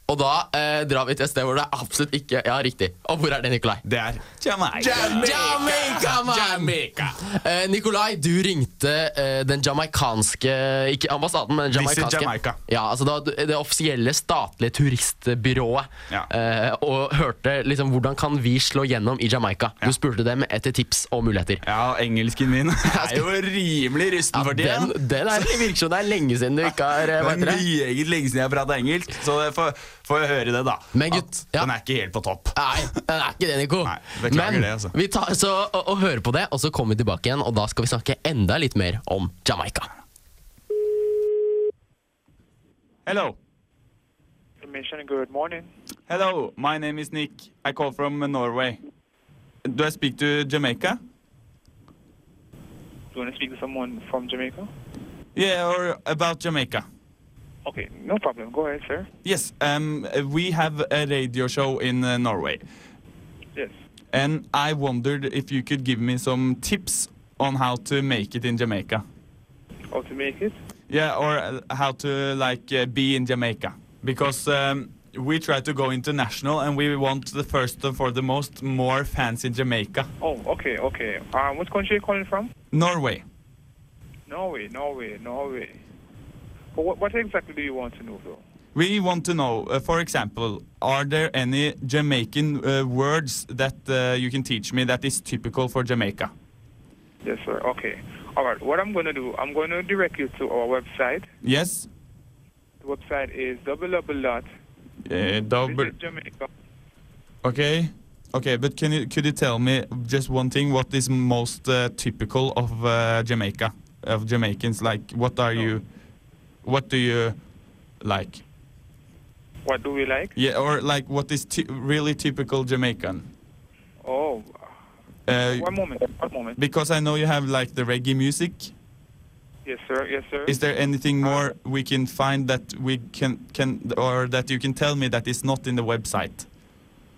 Speaker 3: og da eh, drar vi til et sted hvor det er absolutt ikke Ja, riktig. Og hvor er det, Nikolai?
Speaker 5: Det er Jamaica.
Speaker 3: Jamaica, man!
Speaker 4: Jamaica.
Speaker 3: Eh, Nikolai, du ringte eh, den jamaicanske Ikke ambassaden, men den
Speaker 5: Visit
Speaker 3: jamaicanske.
Speaker 5: Jamaica.
Speaker 3: Ja, altså det, det offisielle statlige turistbyrået.
Speaker 5: Ja.
Speaker 3: eh, og hørte liksom hvordan kan vi slå gjennom i Jamaica. Du spurte dem etter tips og muligheter.
Speaker 5: Ja, og engelsken min (laughs) er jo rimelig rusten for tida.
Speaker 3: den, den er, virker som det er lenge siden du ikke har eh, hva
Speaker 5: Det
Speaker 3: heter
Speaker 5: er
Speaker 3: det?
Speaker 5: meget lenge siden jeg har pratet engelsk, så det får, får jeg høre det, da.
Speaker 3: Men gutt,
Speaker 5: At
Speaker 3: ja.
Speaker 5: den er ikke helt på topp.
Speaker 3: Nei, den er ikke det, Nico.
Speaker 5: Nei, beklager
Speaker 3: Men
Speaker 5: det, altså.
Speaker 3: vi tar så og, og hører på det, og så kommer vi tilbake igjen, og da skal vi snakke enda litt mer om Jamaica.
Speaker 5: Hello.
Speaker 9: Commission, good morning.
Speaker 5: Hello, my name is Nick. I call from uh, Norway. Do I speak to Jamaica?
Speaker 9: Do you want to speak to someone from Jamaica?
Speaker 5: Yeah, or about Jamaica.
Speaker 9: Okay, no problem. Go ahead, sir.
Speaker 5: Yes, um, uh, we have a radio show in uh, Norway.
Speaker 9: Yes.
Speaker 5: and I wondered if you could give me some tips on how to make it in Jamaica.
Speaker 9: How to make it?
Speaker 5: Yeah, or uh, how to like uh, be in Jamaica because um, we try to go international and we want the first and for the most more fans in Jamaica,
Speaker 9: Oh, okay, okay. Um, what country are you calling from?
Speaker 5: Norway.
Speaker 9: Norway, Norway, Norway. But what, what exactly do you want to know, though?
Speaker 5: We want to know, uh, for example, are there any Jamaican uh, words that uh, you can teach me that is typical for Jamaica?
Speaker 9: Yes, sir. Okay. All right. What I'm going to do, I'm going to direct you to our website.
Speaker 5: Yes.
Speaker 9: The website is www.visitjamaica.
Speaker 5: Uh, double. Okay. Okay, but can you could you tell me just one thing? What is most uh, typical of uh, Jamaica, of Jamaicans? Like, what are you, what do you like?
Speaker 9: What do we like?
Speaker 5: Yeah, or like, what is ty- really typical Jamaican?
Speaker 9: Oh,
Speaker 5: Uh,
Speaker 9: one moment. One moment.
Speaker 5: because I know you have like the reggae music.
Speaker 9: Yes, sir. Yes, sir.
Speaker 5: Is there anything more we can find that we can can or that you can tell me that is not in the website?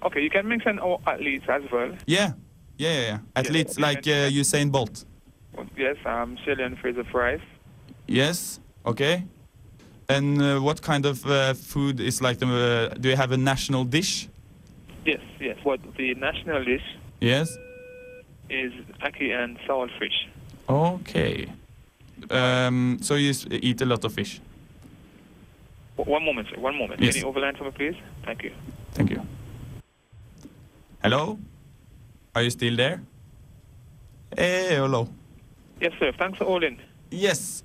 Speaker 9: Okay, you can mention our athletes as well.
Speaker 5: Yeah, yeah, yeah. yeah. At
Speaker 9: Yeah,
Speaker 5: least
Speaker 9: you
Speaker 5: like uh,
Speaker 9: mentioned-
Speaker 5: Usain Bolt.
Speaker 9: Yes, um, Shelly and Fraser Price.
Speaker 5: Yes. Okay. And uh, what kind of uh, food is like the? Uh, do you have a national dish?
Speaker 9: Yes, yes. What the national dish
Speaker 5: Yes.
Speaker 9: is ackee and sour fish.
Speaker 5: Okay. Um, so you s- eat a lot of fish.
Speaker 9: W- One moment, sir. One moment.
Speaker 5: Yes.
Speaker 9: Can you overline for me, please? Thank you.
Speaker 5: Thank you. Hello. Are you still there? Hey, hello.
Speaker 9: Yes, sir. Thanks for holding.
Speaker 5: Yes.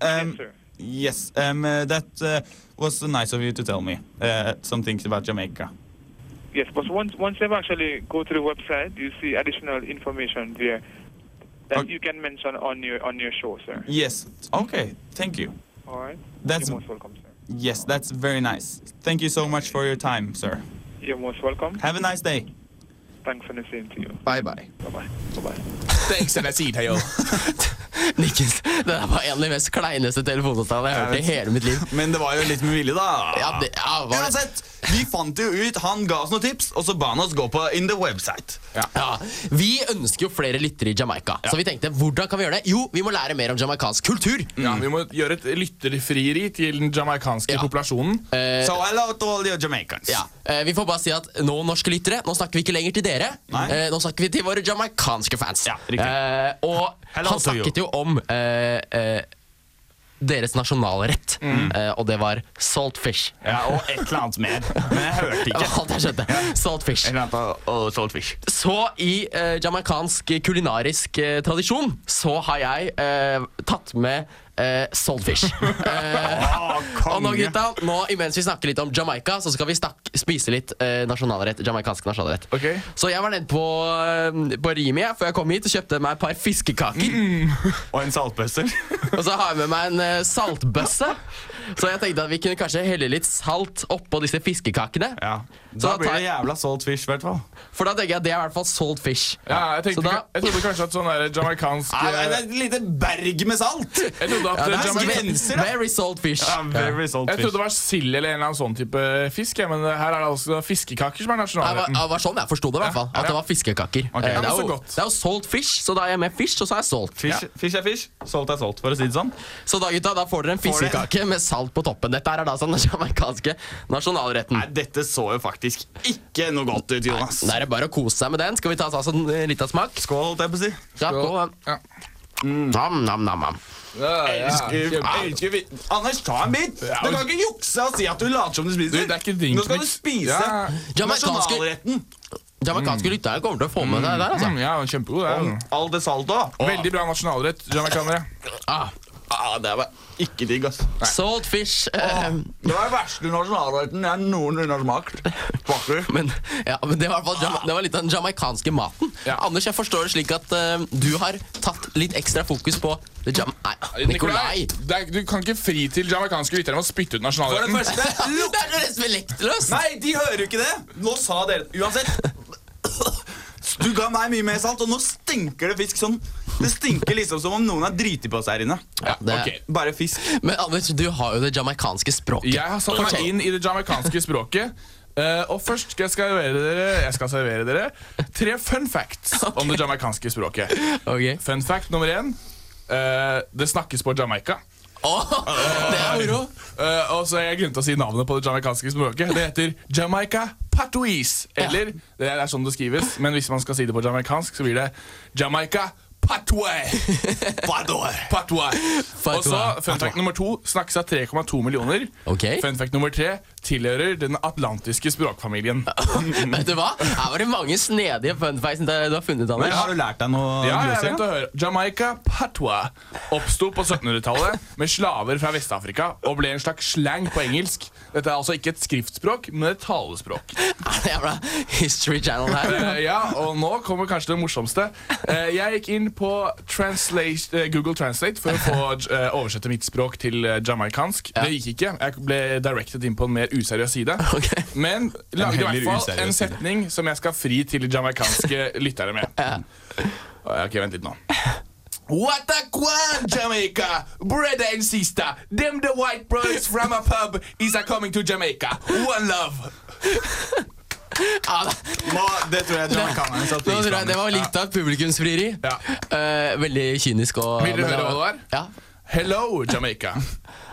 Speaker 5: Um,
Speaker 9: yes, sir.
Speaker 5: Yes, um, uh, that uh, was nice of you to tell me uh, some things about Jamaica.
Speaker 9: Yes, but once once you actually go to the website, you see additional information there that
Speaker 5: Okay.
Speaker 9: you can mention on your on your show, sir.
Speaker 5: Yes. Okay. Thank you.
Speaker 9: All right.
Speaker 5: That's-
Speaker 9: You're most welcome, sir.
Speaker 5: Yes, that's very nice. Thank you so much for your time, sir.
Speaker 9: You're most welcome.
Speaker 5: Have a nice day.
Speaker 9: Thanks for the same to you.
Speaker 3: Bye bye.
Speaker 9: Bye bye. Bye bye.
Speaker 8: Thanks, and I see you.
Speaker 3: Nikkens, det der var en av de mest kleineste telefonavtalene jeg har hørt i hele mitt liv.
Speaker 5: Men det var jo litt med vilje, da.
Speaker 3: Ja, det, ja, var det.
Speaker 5: Uansett, vi fant jo ut, han ga oss noen tips, og så ba han oss gå på In The Website.
Speaker 3: Ja, Vi ønsker jo flere lyttere i Jamaica, så vi tenkte hvordan kan vi gjøre det? Jo, vi må lære mer om jamaicansk kultur.
Speaker 4: Ja, Vi må gjøre et lytterfrieri til den jamaicanske
Speaker 3: Ja.
Speaker 4: populasjonen.
Speaker 5: So hello to all you Jamaicans.
Speaker 3: Eh, Ja, eh, Vi får bare si at nå, norske lyttere, nå snakker vi ikke lenger til dere.
Speaker 5: Nei.
Speaker 3: Eh, nå snakker vi til våre jamaicanske fans.
Speaker 5: Ja, riktig.
Speaker 3: Eh, og
Speaker 5: Hello
Speaker 3: han
Speaker 5: to you.
Speaker 3: snakket jo om eh, eh, deres nasjonalrett,
Speaker 5: Mm.
Speaker 3: eh, og det var salt fish.
Speaker 5: Ja, og et eller annet mer. Men jeg hørte
Speaker 3: Det
Speaker 5: ikke.
Speaker 3: var (laughs) alt jeg skjønte. Salt fish.
Speaker 5: eller annet av oh, saltfish.
Speaker 3: Så i eh, jamaicansk kulinarisk eh, tradisjon så har jeg eh, tatt med eh,
Speaker 5: (laughs)
Speaker 3: saltfish. Eh,
Speaker 5: Å,
Speaker 3: og nå,
Speaker 5: konge.
Speaker 3: gutta, nå imens vi snakker litt om Jamaica, så skal vi snak- spise litt eh, nasjonalrett, jamaicansk nasjonalrett.
Speaker 4: Ok.
Speaker 3: Så jeg var nede på, eh, på Rimi jeg, før jeg kom hit og kjøpte meg et par fiskekaker.
Speaker 5: Mm. Og en
Speaker 3: (laughs)
Speaker 5: saltbøsser.
Speaker 3: Og så har jeg med meg en eh, saltbøsse. Så jeg tenkte at vi kunne kanskje helle litt salt oppå disse fiskekakene.
Speaker 5: Ja.
Speaker 3: Så
Speaker 5: Da
Speaker 3: da
Speaker 5: blir
Speaker 3: tar
Speaker 5: det
Speaker 3: jeg,
Speaker 5: jævla saltfish, i hvert fall.
Speaker 3: for da tenker jeg at det er i hvert fall salt fish.
Speaker 4: Ja, jeg,
Speaker 3: Så
Speaker 4: tenkte,
Speaker 3: da-
Speaker 4: jeg trodde kanskje at sånn der jamaicansk
Speaker 5: Nei, nei, det er et lite berg med salt!
Speaker 3: (laughs)
Speaker 4: Jeg trodde at
Speaker 3: Ja, det
Speaker 4: eh,
Speaker 3: er
Speaker 5: Jamaica-
Speaker 4: Jamaica-
Speaker 3: grenser, da. Very salt fish.
Speaker 5: Ja, very
Speaker 4: jeg trodde
Speaker 5: saltfish.
Speaker 4: det var sild eller en eller annen sånn type fisk. Ja, men eh, her er det altså fiskekaker som er
Speaker 3: Nei, Det var,
Speaker 4: nasjonalretten.
Speaker 3: det var sånn jeg forsto det, i hvert fall. At det var fiskekaker. Eh,
Speaker 4: Ja,
Speaker 3: det,
Speaker 4: men
Speaker 3: er
Speaker 4: så
Speaker 3: jo,
Speaker 4: godt.
Speaker 3: det er jo salt fish, så da er jeg med fish, og så er jeg salt.
Speaker 5: Fish, fish er fish, salt er salt, for å si det sånn.
Speaker 3: Så da gutta, da får dere en fiskekake med salt på toppen. Dette her er da sånn den jamaicanske nasjonalretten.
Speaker 5: Nei, dette så jo faktisk ikke noe godt ut, Jonas.
Speaker 3: Da er det bare å kose seg med den. Skal vi ta oss altså, en liten smak?
Speaker 5: Skål, holdt jeg på å si.
Speaker 3: Ja, på,
Speaker 4: Ja.
Speaker 3: Mm, nam, nam, nam, nam.
Speaker 4: Ja,
Speaker 5: Elsker- elsker vi- Anders, ta en bit! Du kan ikke jukse og si at du later som du spiser.
Speaker 4: Du, det er ikke drinken
Speaker 5: Nå skal du
Speaker 4: min.
Speaker 5: spise
Speaker 4: Ja.
Speaker 3: Jamaicanske-
Speaker 5: nasjonalretten.
Speaker 3: Jamaicanske lyttere kommer til å få med det der, altså.
Speaker 4: Mm, ja, kjempegod. Det er, jo.
Speaker 5: All det salt da.
Speaker 4: Veldig bra nasjonalrett, jamaicanere.
Speaker 3: Ah,
Speaker 5: Ah, det var ikke digg, ass.
Speaker 3: salt fish. eh,
Speaker 5: Det var den verste nasjonalretten jeg noenlunde har smakt. (laughs) Fucker.
Speaker 3: Men, ja, men det, var i hvert fall, jama- det var litt av den jamaicanske maten.
Speaker 4: Ja.
Speaker 3: Anders, jeg forstår det slik at eh, du har tatt litt ekstra fokus på det jam... Nei, Nikolai!
Speaker 4: det er, du kan ikke fri til jamaicanske lyttere med å spytte ut
Speaker 5: For det
Speaker 4: nasjonalretten.
Speaker 5: første
Speaker 3: (laughs) Det er jo respektløst!
Speaker 5: Nei, de hører jo ikke det! Nå sa dere Uansett. Du ga meg mye mer salt, og nå stinker det fisk sånn. Det stinker liksom som om noen har driti på seg her inne.
Speaker 3: Ja, det,
Speaker 4: ok.
Speaker 5: Bare fisk.
Speaker 3: Men Anders, du har jo det jamaicanske språket.
Speaker 4: Jeg har satt meg inn i det jamaicanske språket. Eh, og først skal jeg servere dere, jeg skal servere dere tre fun facts om det jamaicanske språket.
Speaker 3: Ok.
Speaker 4: Fun fact nummer én. eh, det snakkes på Jamaica.
Speaker 3: det er moro.
Speaker 4: Eh, og så er jeg grunn til å si navnet på det jamaicanske språket. Det heter Jamaica patois. Eller det er sånn det skrives, men hvis man skal si det på jamaicansk, så blir det Jamaica patois. Patois. Og så fun fact nummer to snakkes av 3,2 millioner.
Speaker 3: Ok.
Speaker 4: Fun fact nummer tre tilhører den atlantiske språkfamilien.
Speaker 3: Vet du hva? Her var det mange snedige fun facts du har funnet,
Speaker 5: Men
Speaker 3: Anders.
Speaker 5: Har du lært deg noe?
Speaker 4: Ja, jeg
Speaker 5: Lucy?
Speaker 4: vent og hør. Jamaica patois oppsto på 1700-tallet med slaver fra Vest-Afrika og ble en slags slang på engelsk. Dette er altså ikke et skriftspråk, men et talespråk.
Speaker 3: (laughs) Det er bra. History Channel her.
Speaker 4: Eh, (laughs) ja, og nå kommer kanskje det morsomste. Eh, jeg gikk inn på translate, eh, Google Translate for å få eh, oversette mitt språk til eh, jamaicansk. Det gikk ikke. Jeg ble directed inn på en mer useriøs
Speaker 5: (laughs)
Speaker 4: side.
Speaker 3: Ok.
Speaker 4: Men lagde i
Speaker 5: heller
Speaker 4: hvert fall
Speaker 5: useriøs
Speaker 4: en
Speaker 5: side.
Speaker 4: setning som jeg skal fri til
Speaker 5: (laughs)
Speaker 4: jamaicanske lyttere med. Eh, Ok, vent litt nå. What a quan, Jamaica! Brother and sister, them the white boys from a pub is a coming to Jamaica. One love!
Speaker 3: Ja, da-
Speaker 5: Må- Det tror jeg jamaicanerne satte
Speaker 3: Nå
Speaker 5: pris
Speaker 3: tror jeg Det
Speaker 5: på.
Speaker 3: var litt av et publikumsfrieri.
Speaker 4: Ja.
Speaker 3: Eh, veldig kynisk og
Speaker 4: Vil du
Speaker 3: men det
Speaker 4: høre
Speaker 3: var-
Speaker 4: hva det
Speaker 3: Ja.
Speaker 4: Hello, Jamaica.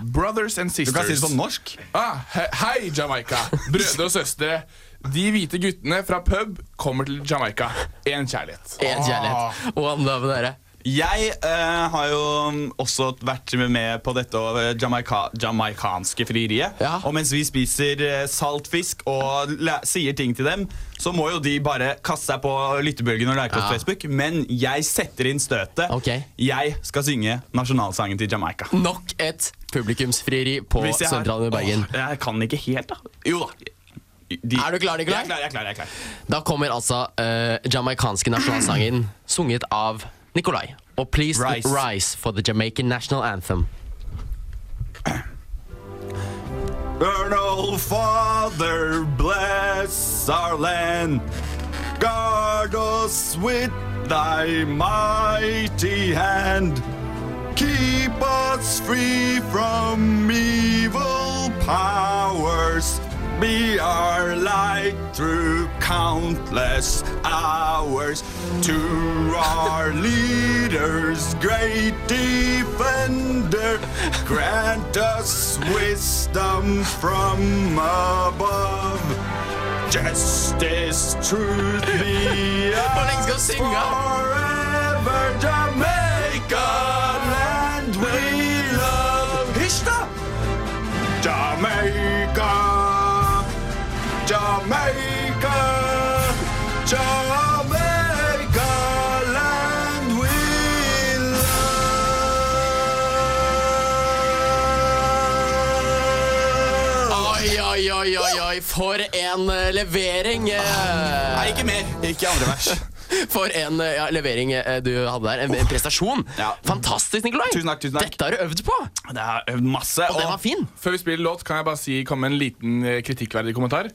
Speaker 4: Brothers and
Speaker 5: Du
Speaker 4: sisters.
Speaker 5: kan si det sånn på norsk.
Speaker 4: Ah, he hei, Jamaica. Brødre og søstre. De hvite guttene fra pub kommer til Jamaica. Én kjærlighet.
Speaker 3: Én kjærlighet. One love, dere.
Speaker 5: Jeg eh, har jo også vært med på dette over Jamaica, jamaicanske frieriet.
Speaker 3: Ja.
Speaker 5: Og mens vi spiser eh, saltfisk og læ sier ting til dem, så må jo de bare kaste seg på lyttebølgen og like oss
Speaker 3: Ja.
Speaker 5: på Facebook. Men jeg setter inn støtet.
Speaker 3: Ok.
Speaker 5: Jeg skal synge nasjonalsangen til Jamaica.
Speaker 3: Nok et publikumsfrieri på
Speaker 5: Hvis jeg har-
Speaker 3: sentralen i Bergen.
Speaker 5: Åh, jeg kan ikke helt, da. Jo da. De-
Speaker 3: Er du klar, Nikolai?
Speaker 5: Jeg er klar, jeg er klar. jeg er klar.
Speaker 3: Da kommer altså uh, jamaicanske nasjonalsangen (clears throat) sunget av Nikolai. Og please
Speaker 5: Rise.
Speaker 3: rise for the Jamaican national anthem.
Speaker 5: Eternal Father, bless our land. Guard us with thy mighty hand. Keep us free from evil powers. Be our light through countless hours. To our (laughs) leaders, great defender, grant us wisdom from above. Justice, truth be (laughs)
Speaker 3: lenge skal
Speaker 5: ours
Speaker 3: vi synge?
Speaker 5: Forever Jamaica, land we love. Hysj, Jamaica, Jamaica, Jamaica, land we love.
Speaker 3: Oi, oi, oi, oi, oi. for en eh, levering! eh,
Speaker 5: Nei, ikke mer. Ikke andre vers.
Speaker 3: for en eh, ja, levering eh, du hadde der. En, en prestasjon.
Speaker 5: Ja.
Speaker 3: Fantastisk, Nikolai!
Speaker 5: Tusen takk, tusen takk.
Speaker 3: Dette har du øvd på, og
Speaker 5: (laughs) Det har jeg øvd masse.
Speaker 3: den var fin.
Speaker 4: Ah. Før vi spiller låt, kan jeg bare si, komme med en liten eh, kritikkverdig kommentar.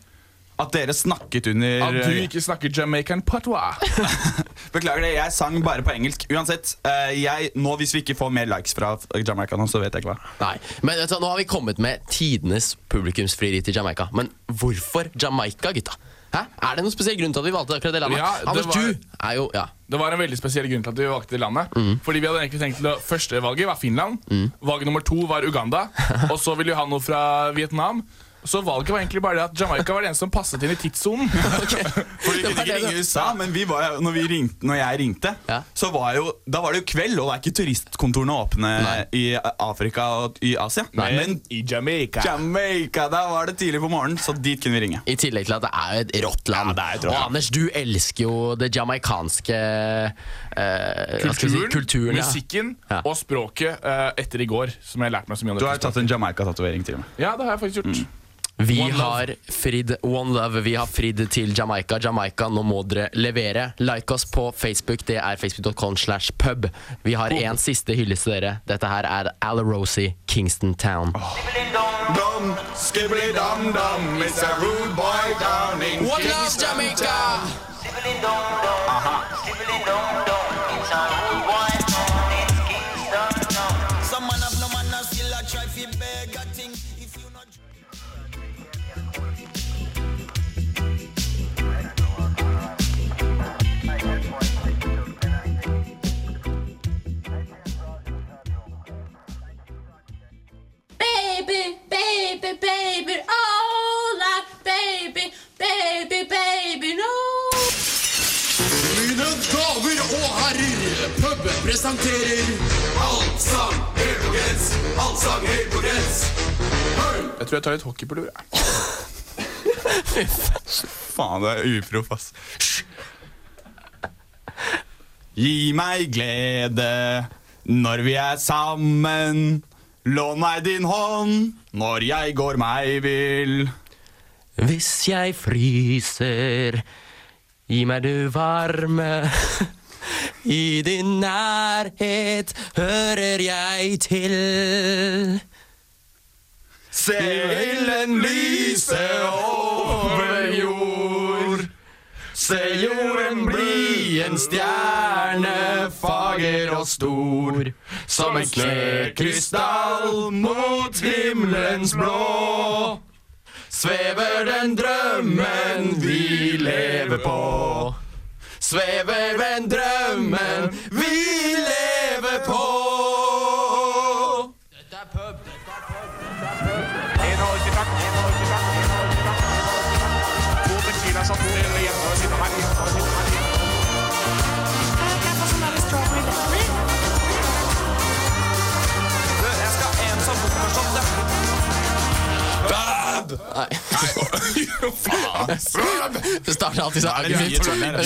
Speaker 5: At dere snakket under eh,
Speaker 4: At du ikke snakker Jamaican patois.
Speaker 5: Beklager det, jeg sang bare på engelsk. Uansett, eh, jeg, nå hvis vi ikke får mer likes fra Jamaica nå, så vet jeg ikke hva.
Speaker 3: Nei, men vet du, hva, Nå har vi kommet med tidenes publikumsfrieri til Jamaica. Men hvorfor Jamaica, gutta? Hæ? Er det noen spesiell grunn til at vi valgte akkurat det landet?
Speaker 4: Ja, det
Speaker 3: Anders,
Speaker 4: var-
Speaker 3: du er jo ja.
Speaker 5: (laughs)
Speaker 4: Det var en veldig spesiell grunn til at vi valgte det landet. Fordi vi hadde egentlig tenkt til å, Førstevalget var Finland, valg nummer to var Uganda, og så ville vi ha noe fra Vietnam. Så valget var egentlig bare det at Jamaica var det eneste som passet inn i tidssonen.
Speaker 5: Fordi vi
Speaker 3: (laughs) Det var det
Speaker 5: kunne ikke
Speaker 3: du-
Speaker 5: ringe USA, men vi var, jo- når, vi ringte, når jeg ringte,
Speaker 3: Ja.
Speaker 5: så var jo, da var det jo kveld, og det er ikke turistkontorene åpne
Speaker 3: Nei.
Speaker 5: i Afrika og i Asia. Men
Speaker 4: i Jamaica
Speaker 5: Jamaica, da var det tidlig på morgenen, så dit kunne vi ringe.
Speaker 3: I tillegg til at det er jo et rått land.
Speaker 5: Ja, det er et rått
Speaker 3: og
Speaker 5: land.
Speaker 3: Anders, du elsker jo det jamaicanske eh, hva skal vi si,
Speaker 4: Kulturen,
Speaker 3: kulturen ja.
Speaker 4: musikken
Speaker 3: Ja.
Speaker 4: og språket eh, etter i går, som jeg har lært meg så mye om.
Speaker 5: Du
Speaker 4: dette
Speaker 5: har tatt en Jamaica-tatovering til meg.
Speaker 4: Ja, det har jeg faktisk gjort.
Speaker 3: Vi
Speaker 4: One love.
Speaker 3: har fridd One Love, vi har fridd til Jamaica. Jamaica, nå må dere levere. Like oss på Facebook, det er facebook.com slash pub. Vi har en siste hyllest til dere. Dette her er Alarosi, Kingston Town.
Speaker 5: Dum, skibbly dum dum, it's a rude boy down in
Speaker 3: One love, Jamaica!
Speaker 6: Some man have no man still a try fi beg a thing if you not.
Speaker 3: Damer og herrer, puben presenterer
Speaker 6: Allsang helt på grens. Allsang helt på grens.
Speaker 4: Jeg tror jeg tar litt hockeypulver. jeg.
Speaker 5: Faen, det er uproff, ass. Hysj. Gi meg glede når vi er sammen. Lån meg din hånd når jeg går meg vill.
Speaker 3: Hvis jeg fryser, gi meg du varme. (laughs) I din nærhet hører jeg til.
Speaker 5: Se ilden lyse over jord. Se jorden bli en stjerne, fager og stor. Som en kløkrystall mot himmelens blå. Svever den drømmen vi lever på. Svever den drømmen vi lever på.
Speaker 3: Det starter alltid sånn. Det er mye tull her.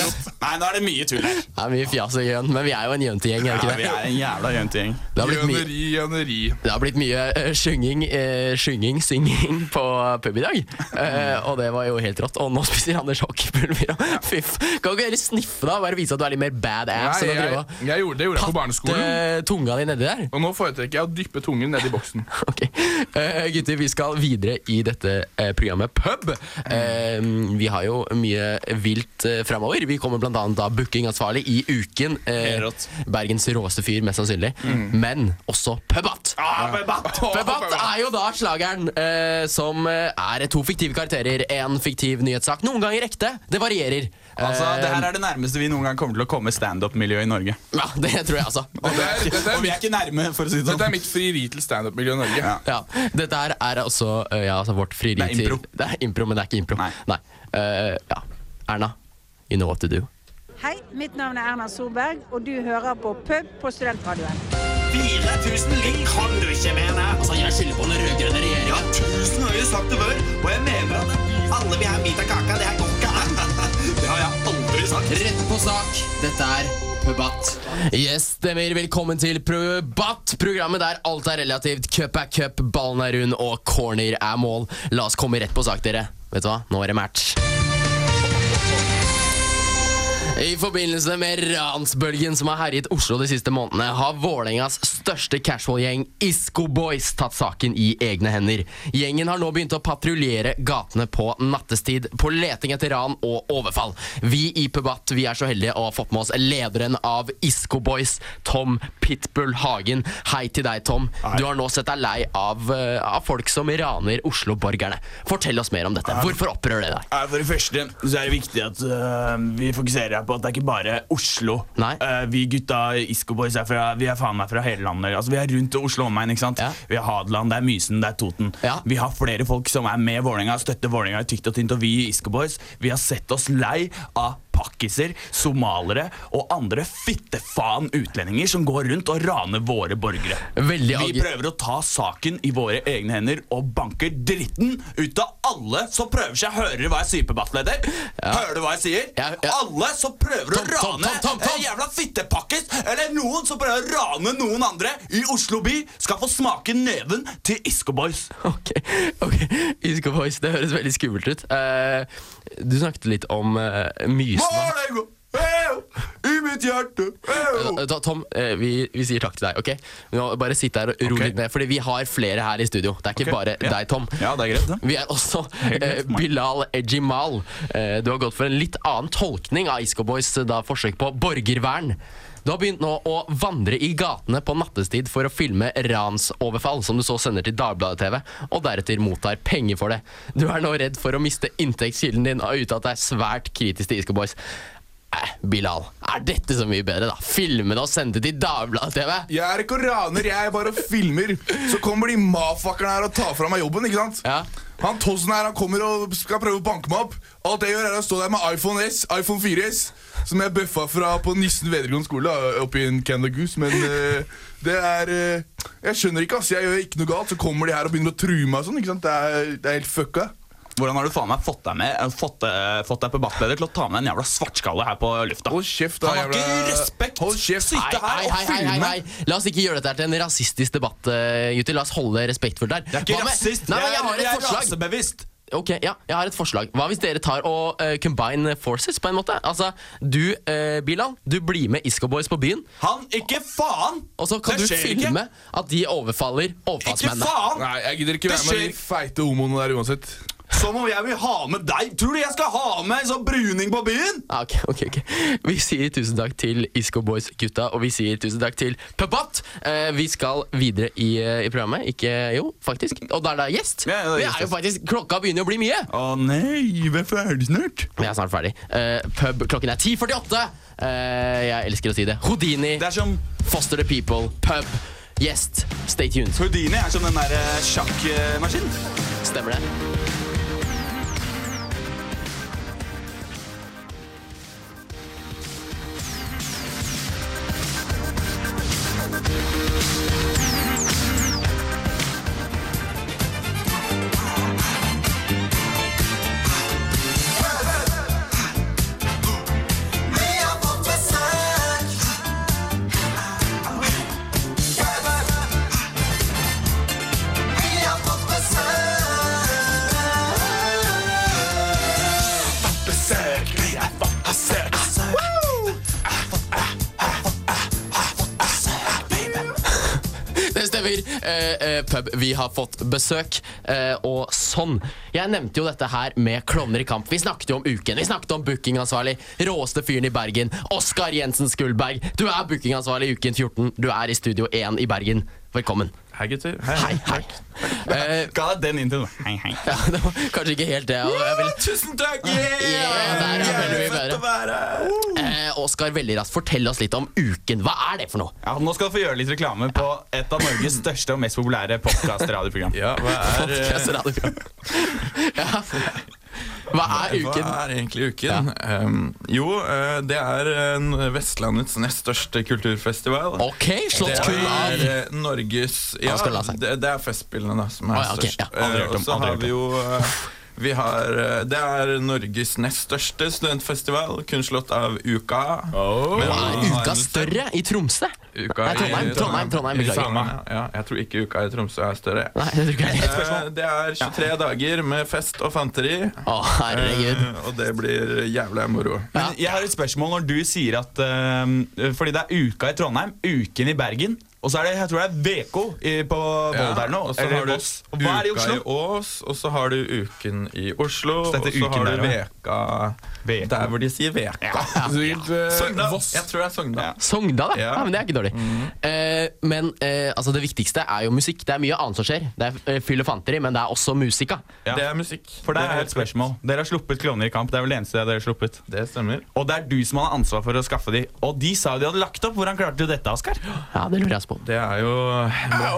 Speaker 5: Nei, nå er det mye tull her.
Speaker 3: Det er mye fjas og gjøn, men vi er jo en jøntegjeng, er
Speaker 5: Ja,
Speaker 3: vi ikke
Speaker 5: vi
Speaker 3: det?
Speaker 5: er en jævla jentegjeng.
Speaker 3: Det har blitt mye,
Speaker 4: Jøneri, jøneri.
Speaker 3: det har blitt mye eh, synging, eh, synging, synging på pub i dag. Eh, og det var jo helt rått. Og nå spiser Anders hockeypulver. og Fy f- Kan ikke dere sniffe, da? Bare vise at du er litt mer badass.
Speaker 4: Nei,
Speaker 3: enn å
Speaker 4: jeg,
Speaker 3: drive og
Speaker 4: jeg gjorde det gjorde jeg på barneskolen.
Speaker 3: patte tunga di nedi der.
Speaker 4: Og nå foretrekker jeg å dyppe tungen ned i boksen.
Speaker 3: (laughs) Ok, Eh, Gutter, vi skal videre i dette eh, programmet Pub. Eh, vi har jo mye vilt uh, framover. Vi kommer bl.a. da bookingansvarlig i uken. eh,
Speaker 5: Helt rått. Mm.
Speaker 3: Bergens råeste fyr, mest sannsynlig. Men også pubat!
Speaker 5: Ah,
Speaker 3: (laughs) Pubat er jo da slageren eh, som eh, er to fiktive karakterer, én fiktiv nyhetssak. Noen ganger ekte. Det varierer.
Speaker 5: Altså,
Speaker 3: Eh,
Speaker 5: Det her er det nærmeste vi noen gang kommer til å komme standup-miljøet i Norge.
Speaker 3: ja, det tror jeg, altså.
Speaker 4: Dette er, dette
Speaker 5: Og
Speaker 4: er,
Speaker 5: vi er ikke nærme, for å si det
Speaker 4: dette er
Speaker 5: sånn.
Speaker 4: mitt frieri til standup-miljøet i Norge.
Speaker 5: Ja.
Speaker 3: Ja, Dette her er altså, eh, ja, altså vårt frieri
Speaker 5: Det er impro.
Speaker 3: til Det er impro, men det er ikke impro.
Speaker 5: Nei.
Speaker 3: Eh, ja. Erna, you know what to do.
Speaker 10: Hei, mitt navn er Erna Solberg, og du hører på Pub på Studentradioen.
Speaker 6: 4000 ligg kan du ikke mene. Altså, jeg skylder på den rød-grønne regjeringen. Ja, tusen har jeg sagt det før, og jeg mener at alle vil ha en bit av kaka. Det her går ikke an. (laughs) Det har jeg aldri sagt.
Speaker 3: Rett på sak. Dette er Pubat. Yes, stemmer. Velkommen til Pubat, programmet der alt er relativt. Cup er cup, ballen er rund, og corner er mål. La oss komme rett på sak, dere. Vet du hva? Nå er det match. I forbindelse med ransbølgen som har herjet Oslo de siste månedene, har Vålerengas største casual-gjeng, Isco Boys, tatt saken i egne hender. Gjengen har nå begynt å patruljere gatene på nattestid, på leting etter ran og overfall. Vi i Pubat vi er så heldige å ha fått med oss lederen av Isco Boys, Tom Pitbull Hagen. Hei til deg, Tom. Du har nå sett deg lei av, eh, av folk som raner Oslo-borgerne. Fortell oss mer om dette. Hvorfor opprører det deg?
Speaker 5: Ja, Eh, For det første så er det viktig at øh, vi fokuserer her på at det er ikke bare Oslo.
Speaker 3: Nei.
Speaker 5: Øh, vi gutta i Isco Boys er, fra, vi er faen meg fra hele landet. Altså, vi er rundt til Oslo omegn. ikke sant?
Speaker 3: Ja.
Speaker 5: Vi har Hadeland, det er Mysen, det er Toten.
Speaker 3: Ja.
Speaker 5: Vi har flere folk som er med Vålerenga, støtter Vålerenga i tykt og tynt. Og vi i Isco Boys vi har sett oss lei av pakkiser, somalere og andre fittefaen utlendinger som går rundt og raner våre borgere.
Speaker 3: Veldig
Speaker 5: Vi
Speaker 3: agi-
Speaker 5: prøver å ta saken i våre egne hender og banker dritten ut av alle som prøver seg. Hører du hva jeg sier, debattleder? Hører du hva jeg sier?
Speaker 3: Ja, ja.
Speaker 5: Alle som prøver
Speaker 3: Tom,
Speaker 5: å
Speaker 3: Tom,
Speaker 5: rane
Speaker 3: Tom, Tom, Tom!
Speaker 5: en jævla fittepakkis, eller noen som prøver å rane noen andre i Oslo by, skal få smake neven til Isco Boys.
Speaker 3: Ok, ok Isco Boys, det høres veldig skummelt ut. Eh, du snakket litt om uh, Mysen.
Speaker 5: Vålerenga, eu, i mitt hjerte, eu.
Speaker 3: Da, Tom, eh, vi, vi sier takk til deg. ok? Nå Bare sitt der og ro
Speaker 5: Ok.
Speaker 3: litt ned, Fordi vi har flere her i studio. Det er ikke
Speaker 5: Ok,
Speaker 3: bare
Speaker 5: ja.
Speaker 3: deg, Tom.
Speaker 5: Ja, det er greit, det.
Speaker 3: Vi er også
Speaker 5: greit
Speaker 3: eh,
Speaker 5: for meg.
Speaker 3: Bilal Ejimal. Eh, du har gått for en litt annen tolkning av Isco Boys eh, da forsøk på borgervern. Du har begynt nå å vandre i gatene på nattestid for å filme ransoverfall, som du så sender til Dagbladet TV, og deretter mottar penger for det. Du er nå redd for å miste inntektskilden din og uttalt deg svært kritisk til Isco Boys. Eh, Bilal, er dette så mye bedre, da? Filme det og sende det til Dagbladet TV?
Speaker 4: Jeg er ikke og raner, jeg er bare og filmer. Så kommer de mafakkerne her og tar fra meg jobben. ikke sant?
Speaker 3: Ja.
Speaker 4: Han Tossen her han kommer og skal prøve å banke meg opp. Alt jeg gjør, er å stå der med iPhone S, iPhone 4S, som jeg bøffa fra på Nissen videregående skole oppi en Canada Goose, men eh, det er eh, Jeg skjønner ikke, ass. Jeg gjør ikke noe galt. Så kommer de her og begynner å true meg og sånn. ikke sant? Det er, det er helt fucka.
Speaker 5: Hvordan har du faen meg fått deg med eh, Fått, eh, fått deg på bakbedet til å ta med en jævla svartskalle her på lufta?
Speaker 4: Hold kjeft, da.
Speaker 5: Han har
Speaker 4: jævla-
Speaker 5: ikke respekt.
Speaker 4: Hold kjeft.
Speaker 5: Sitte her
Speaker 3: Hei,
Speaker 5: og
Speaker 3: hei, hei, hei,
Speaker 5: filme.
Speaker 3: hei. La oss ikke gjøre dette her til en rasistisk debatt, eh, gutter. La oss holde respektfullt der.
Speaker 5: Jeg er ikke rasist,
Speaker 3: Nei, men
Speaker 5: jeg,
Speaker 3: jeg har
Speaker 5: er- jeg
Speaker 3: et
Speaker 5: er
Speaker 3: forslag.
Speaker 5: rasebevisst.
Speaker 3: Ok, ja, jeg har et forslag. Hva hvis dere tar og eh, combine forces på en måte? Altså, du, eh, Bilal, du blir med Isco Boys på byen,
Speaker 5: Han, ikke faen!
Speaker 3: og så kan
Speaker 5: Det
Speaker 3: du
Speaker 5: skjer
Speaker 3: filme
Speaker 5: ikke.
Speaker 3: at de overfaller
Speaker 5: Ikke
Speaker 3: overfallsmennene.
Speaker 5: faen!
Speaker 4: Nei, jeg gidder ikke
Speaker 5: Det
Speaker 4: være med de feite homoene der uansett.
Speaker 5: Som om jeg vil ha med deg! Tror du jeg skal ha med en sånn bruning på byen?
Speaker 3: Ja, Ah, ok, ok, ok. Vi sier tusen takk til Isco Boys-gutta, og vi sier tusen takk til Pubat. Eh, vi skal videre i, eh, i programmet. Ikke Jo, faktisk. Og da er det gjest.
Speaker 5: Ja, ja, det er
Speaker 3: det
Speaker 5: gjest,
Speaker 3: er jo faktisk, Klokka begynner å bli mye.
Speaker 5: Å nei, vi er ferdig snart.
Speaker 3: Vi er snart ferdig. Eh, pub, klokken er 10.48. Eh, jeg elsker å si det. Houdini,
Speaker 5: Det er som
Speaker 3: Foster the People, pub, gjest. Stay tuned.
Speaker 5: Houdini er som den der eh, sjakkmaskinen.
Speaker 3: Stemmer det? Det stemmer. Eh, eh, pub, vi har fått besøk. Eh, og sånn. Jeg nevnte jo dette her med Klovner i kamp. Vi snakket jo om Uken. Vi snakket om bookingansvarlig. Råeste fyren i Bergen. Oskar Jensen Skulberg. Du er bookingansvarlig i Uken 14. Du er i Studio 1 i Bergen. Velkommen.
Speaker 5: Hei, gutter.
Speaker 3: Hei, hei. Eh,
Speaker 5: (laughs) Ga deg den introen. Hei, hei.
Speaker 3: ja, (laughs) det var kanskje ikke helt det. jeg- Jeg ville
Speaker 5: Tusen takk! Yeah!
Speaker 3: Yeah, der er veldig mye
Speaker 5: Fett
Speaker 3: bedre.
Speaker 5: å være her.
Speaker 3: Eh, Oskar, veldig raskt, fortell oss litt om Uken. Hva er det for noe?
Speaker 5: Ja, nå skal du få gjøre litt reklame på et av Norges største og mest populære podkast-radioprogram.
Speaker 9: Ja, hva er, eh,
Speaker 3: Podcast radioprogram. (laughs) ja. Hva er Uken?
Speaker 9: Hva er egentlig uken? Um, jo, eh, det er eh, Vestlandets nest største kulturfestival.
Speaker 3: Ok,
Speaker 9: Det
Speaker 3: slått kul av.
Speaker 9: er eh, Norges Ja,
Speaker 3: Han skal la seg.
Speaker 9: det, det er Festspillene da, som er
Speaker 3: Å, ja, ok,
Speaker 9: størst.
Speaker 3: ja.
Speaker 9: Eh,
Speaker 5: Aldri hørt om,
Speaker 9: Og så
Speaker 5: aldri hørt
Speaker 9: har vi jo eh, vi har, eh, Det er Norges nest største studentfestival, kun slått av Uka. eh, Men
Speaker 3: Hva
Speaker 9: vi
Speaker 3: er
Speaker 9: har
Speaker 3: uka
Speaker 9: en-
Speaker 3: større i Tromsø?
Speaker 9: Uka
Speaker 3: Nei,
Speaker 9: i-
Speaker 3: Trondheim, Trondheim, Trondheim,
Speaker 9: i
Speaker 3: beklager.
Speaker 9: Trondheim, ja, jeg tror ikke Uka i Tromsø er større.
Speaker 3: Nei, det tror ikke jeg.
Speaker 9: Eh, Det er 23 dager med fest og fanteri.
Speaker 3: Å, herregud.
Speaker 9: Eh, Og det blir jævla moro.
Speaker 5: Men jeg har et spørsmål når du sier at eh, Fordi det er Uka i Trondheim, Uken i Bergen, og så er det jeg tror det er VK i- på Volda eller
Speaker 9: og
Speaker 5: noe.
Speaker 9: så har
Speaker 5: Eller
Speaker 9: du
Speaker 5: Voss. Og hva er det i
Speaker 9: Uka i
Speaker 5: Oslo?
Speaker 9: Ås, og så har du Uken i Oslo,
Speaker 5: Så
Speaker 9: og
Speaker 5: dette er
Speaker 9: så har
Speaker 5: Uken
Speaker 9: du
Speaker 5: der, ja.
Speaker 9: Veka
Speaker 5: Veka.
Speaker 9: Der hvor de sier Veka.
Speaker 4: Sikkert, eh,
Speaker 9: Sogndal.
Speaker 4: Voss.
Speaker 9: Jeg tror det er Sogndal.
Speaker 3: Sogndal, ja.
Speaker 9: Ja. Mm.
Speaker 3: ja. Men det er ikke dårlig. Eh, men eh, altså, det viktigste er jo musikk. Det er mye annet som skjer. Det er eh, fyll og fanteri, men det er også musika.
Speaker 5: Ja.
Speaker 9: Det er musikk.
Speaker 5: For
Speaker 9: det
Speaker 5: der er et spørsmål. Dere har sluppet Klovner i kamp. Det er vel det eneste dere har sluppet.
Speaker 9: Det stemmer.
Speaker 5: Og det er du som har ansvar for å skaffe de. Og de sa jo de hadde lagt opp. Hvordan klarte du dette, Oskar?
Speaker 3: Ja, det lurer jeg på.
Speaker 9: Det er jo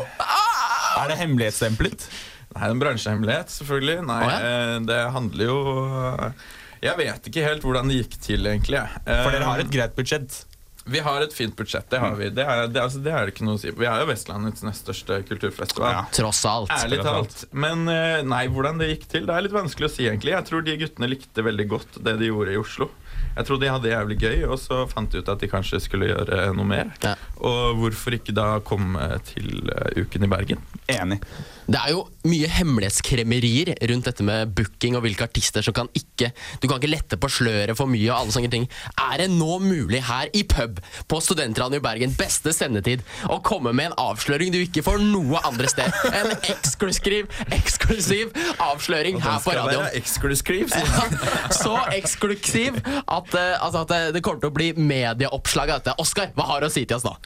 Speaker 5: Er det hemmelighetsstemplet?
Speaker 9: Nei, en bransjehemmelighet, selvfølgelig. Nei,
Speaker 3: Å, ja?
Speaker 9: eh, det handler jo eh, Jeg vet ikke helt hvordan det gikk til, egentlig.
Speaker 5: For dere har et greit budsjett.
Speaker 9: eh, Vi har et fint budsjett, det har vi. Det er det, altså, det, er det ikke noe å si. på. Vi er jo Vestlandets nest største kulturfestival.
Speaker 5: Ja.
Speaker 3: Tross alt.
Speaker 9: Ærlig talt. Men eh, nei, hvordan det gikk til, det er litt vanskelig å si, egentlig. Jeg tror de guttene likte veldig godt det de gjorde i Oslo. Jeg tror de hadde jævlig gøy, og så fant de ut at de kanskje skulle gjøre noe mer.
Speaker 3: Ja.
Speaker 9: Og hvorfor ikke da komme til eh, Uken i Bergen?
Speaker 5: Enig.
Speaker 3: Det er jo mye hemmelighetskremerier rundt dette med booking og hvilke artister som kan ikke Du kan ikke lette på sløret for mye og alle sånne ting. Er det nå mulig her i pub på Studentradioen i Bergen, beste sendetid, å komme med en avsløring du ikke får noe andre sted? En eksklusiv, eksklusiv avsløring her på radioen.
Speaker 9: Exclusive, sier jeg.
Speaker 3: Ja, Så eksklusiv at, eh, altså at eh, det kommer til å bli medieoppslag av dette. Oskar, hva har du å si til oss nå?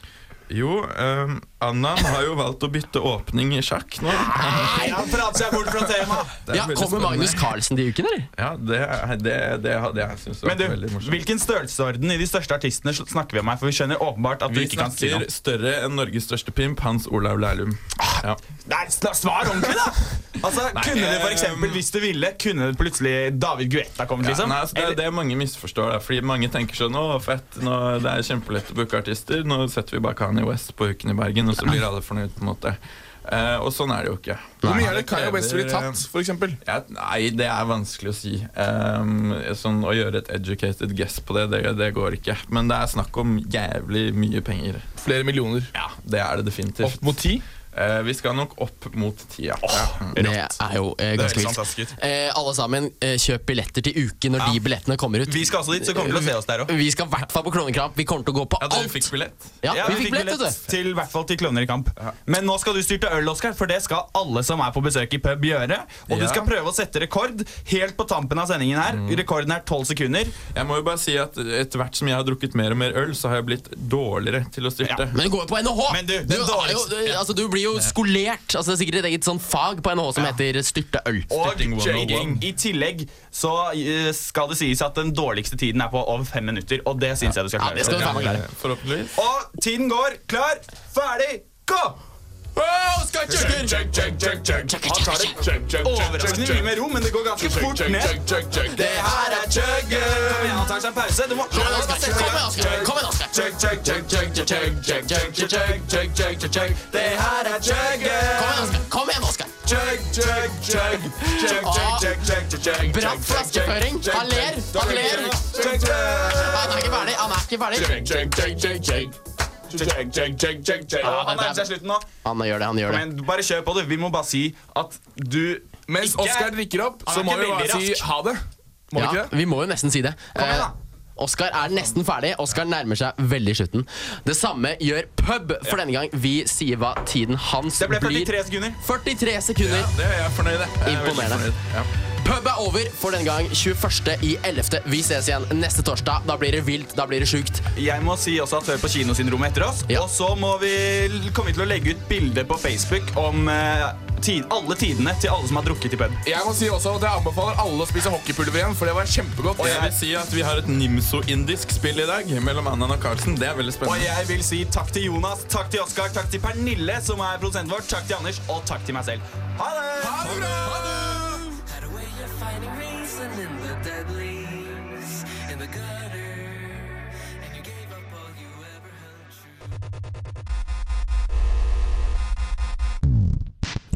Speaker 9: Jo, ehm,
Speaker 11: Annan har jo valgt å bytte åpning i sjakk nå. Nei,
Speaker 5: han prater seg bort fra temaet!
Speaker 3: Ja, kommer Magnus Carlsen de ukene, eller?
Speaker 11: (laughs) Ja, det, er- det, det hadde jeg syntes var
Speaker 5: Men du,
Speaker 11: veldig morsomt.
Speaker 5: Hvilken størrelsesorden i de største artistene sl- snakker vi om her? For vi skjønner åpenbart at du
Speaker 11: Vi
Speaker 5: ikke kan si
Speaker 11: snakker
Speaker 5: noe.
Speaker 11: større enn Norges største pimp, Hans Olav Lahlum. Ja.
Speaker 5: Nei, sn- svar ordentlig, da! Altså,
Speaker 11: Nei,
Speaker 5: Kunne det for
Speaker 11: eh,
Speaker 5: eksempel, hvis du ville, kunne det plutselig David Guetta kommet,
Speaker 11: Ja,
Speaker 5: liksom?
Speaker 11: nei, altså, det er
Speaker 5: Eller-
Speaker 11: det mange misforstår. Da, fordi Mange tenker sånn Å, fett, nå, det er kjempelett å booke artister. Nå setter vi bare Kanye West på Uken i Bergen, og så blir alle fornøyd. på en måte Eh, Og sånn er det jo ikke.
Speaker 8: Hvor mye er det Kanye West ville tatt, for eksempel?
Speaker 11: Ja, nei, det er vanskelig å si. Um, sånn, å gjøre et educated guess på det, det, det går ikke. Men det er snakk om jævlig mye penger.
Speaker 8: Flere millioner.
Speaker 11: Ja, det er det definitivt.
Speaker 8: Opp mot ti?
Speaker 11: Eh, vi skal nok opp mot ti, ja.
Speaker 3: Det er jo eh, ganske
Speaker 5: Det høres
Speaker 3: vilt.
Speaker 5: fantastisk ut.
Speaker 3: Eh, alle sammen, eh, kjøp billetter til uken når de billettene kommer ut.
Speaker 5: Vi skal også dit, så kommer til å se oss der òg.
Speaker 3: Vi skal i hvert fall på Klovnekramp. Vi kommer til å gå på
Speaker 11: Ja, dere
Speaker 3: alt.
Speaker 11: fikk billett?
Speaker 3: Ja, vi fikk billett, vet du.
Speaker 5: til, i hvert fall til Klovner i kamp. Men nå skal du styrte øl, Oskar, for det skal alle som er på besøk i pub, gjøre. Og du
Speaker 11: Ja. Mm.
Speaker 5: skal prøve å sette rekord helt på tampen av sendingen her. Rekorden er 12 sekunder.
Speaker 11: Jeg må jo bare si at Etter hvert som jeg har drukket mer og mer øl, så har jeg blitt dårligere til å styrte.
Speaker 3: Men det går jo på NHH!
Speaker 5: Men du, den
Speaker 3: har jo,
Speaker 5: dårligste-
Speaker 3: altså, du blir jo skolert. Altså, det er sikkert et eget sånn fag på NHH som heter styrte øl.
Speaker 5: Og
Speaker 11: Styrting 101.
Speaker 5: JG, i tillegg så eh, skal det sies at den dårligste tiden er på over fem minutter, og det syns jeg du skal
Speaker 3: Ja,
Speaker 5: klare.
Speaker 3: det skal du faen meg klare.
Speaker 11: Eh, Forhåpentligvis.
Speaker 5: Og tiden går. Klar, ferdig, gå!
Speaker 4: Han tar det
Speaker 5: Overraskende mye mer ro, men det går ganske fort ned. Det her er chugger. Han tar seg en pause. Du må
Speaker 3: Kom igjen, Oskar. Kom igjen, Oskar. Kom igjen, Oskar.
Speaker 5: Chug, chug, chug, chug, chug, chug, chug, chug, chug, chug, chug, chug, chug. Det her er chugger.
Speaker 3: Kom igjen, Oskar. Kom igjen, Oskar.
Speaker 5: Chug, chug, chug, chug, chug, chug, chug, chug, chug,
Speaker 3: Bra
Speaker 5: chug,
Speaker 3: flaskeføring.
Speaker 5: chug,
Speaker 3: Han ler.
Speaker 5: chug,
Speaker 3: Han ler.
Speaker 5: chug, chug.
Speaker 3: Han er ikke ferdig. Han er ikke ferdig.
Speaker 5: Ja, Han nærmer seg slutten nå.
Speaker 3: Han gjør det, han gjør det.
Speaker 5: Men bare kjør på, du. Vi må bare si at du
Speaker 4: Mens
Speaker 5: ikke-
Speaker 4: Oskar drikker opp,
Speaker 5: Han er
Speaker 4: så må
Speaker 5: ikke
Speaker 4: vi bare
Speaker 5: veldig
Speaker 4: si
Speaker 5: rask.
Speaker 4: ha det. Må vi
Speaker 3: Ja,
Speaker 4: ikke det?
Speaker 3: vi må jo nesten si det.
Speaker 5: igjen, da.
Speaker 3: Eh, Oscar er nesten ferdig. Oscar nærmer seg veldig slutten. Det samme gjør pub, for denne gang vi sier hva tiden hans
Speaker 5: Det ble 43
Speaker 3: blir.
Speaker 5: sekunder.
Speaker 3: 43 sekunder.
Speaker 11: Det er jeg fornøyd med. Jeg er veldig
Speaker 3: Imponerende.
Speaker 11: fornøyd. Ja.
Speaker 3: Pub er over for denne gang 21. i 11. Vi ses igjen neste torsdag. Da blir det vilt, da blir det sjukt.
Speaker 5: Jeg må si også at Hør på kinosyndromet etter oss.
Speaker 3: Ja.
Speaker 5: Og så må vi l- komme til å legge ut bilde på Facebook om eh, ti- alle tidene til alle som har drukket i pub.
Speaker 4: Jeg må si også at jeg anbefaler alle å spise hockeypulver igjen, for det var kjempegodt.
Speaker 11: Og jeg vil si at vi har et Nimso-indisk spill i dag mellom Annan og Carlsen. Det er
Speaker 5: Og
Speaker 11: veldig spennende.
Speaker 5: jeg vil si takk til Jonas, takk til Oskar, takk til Pernille, som er produsenten vår, takk til Anders, og takk til meg selv. Ha det! Ha det bra!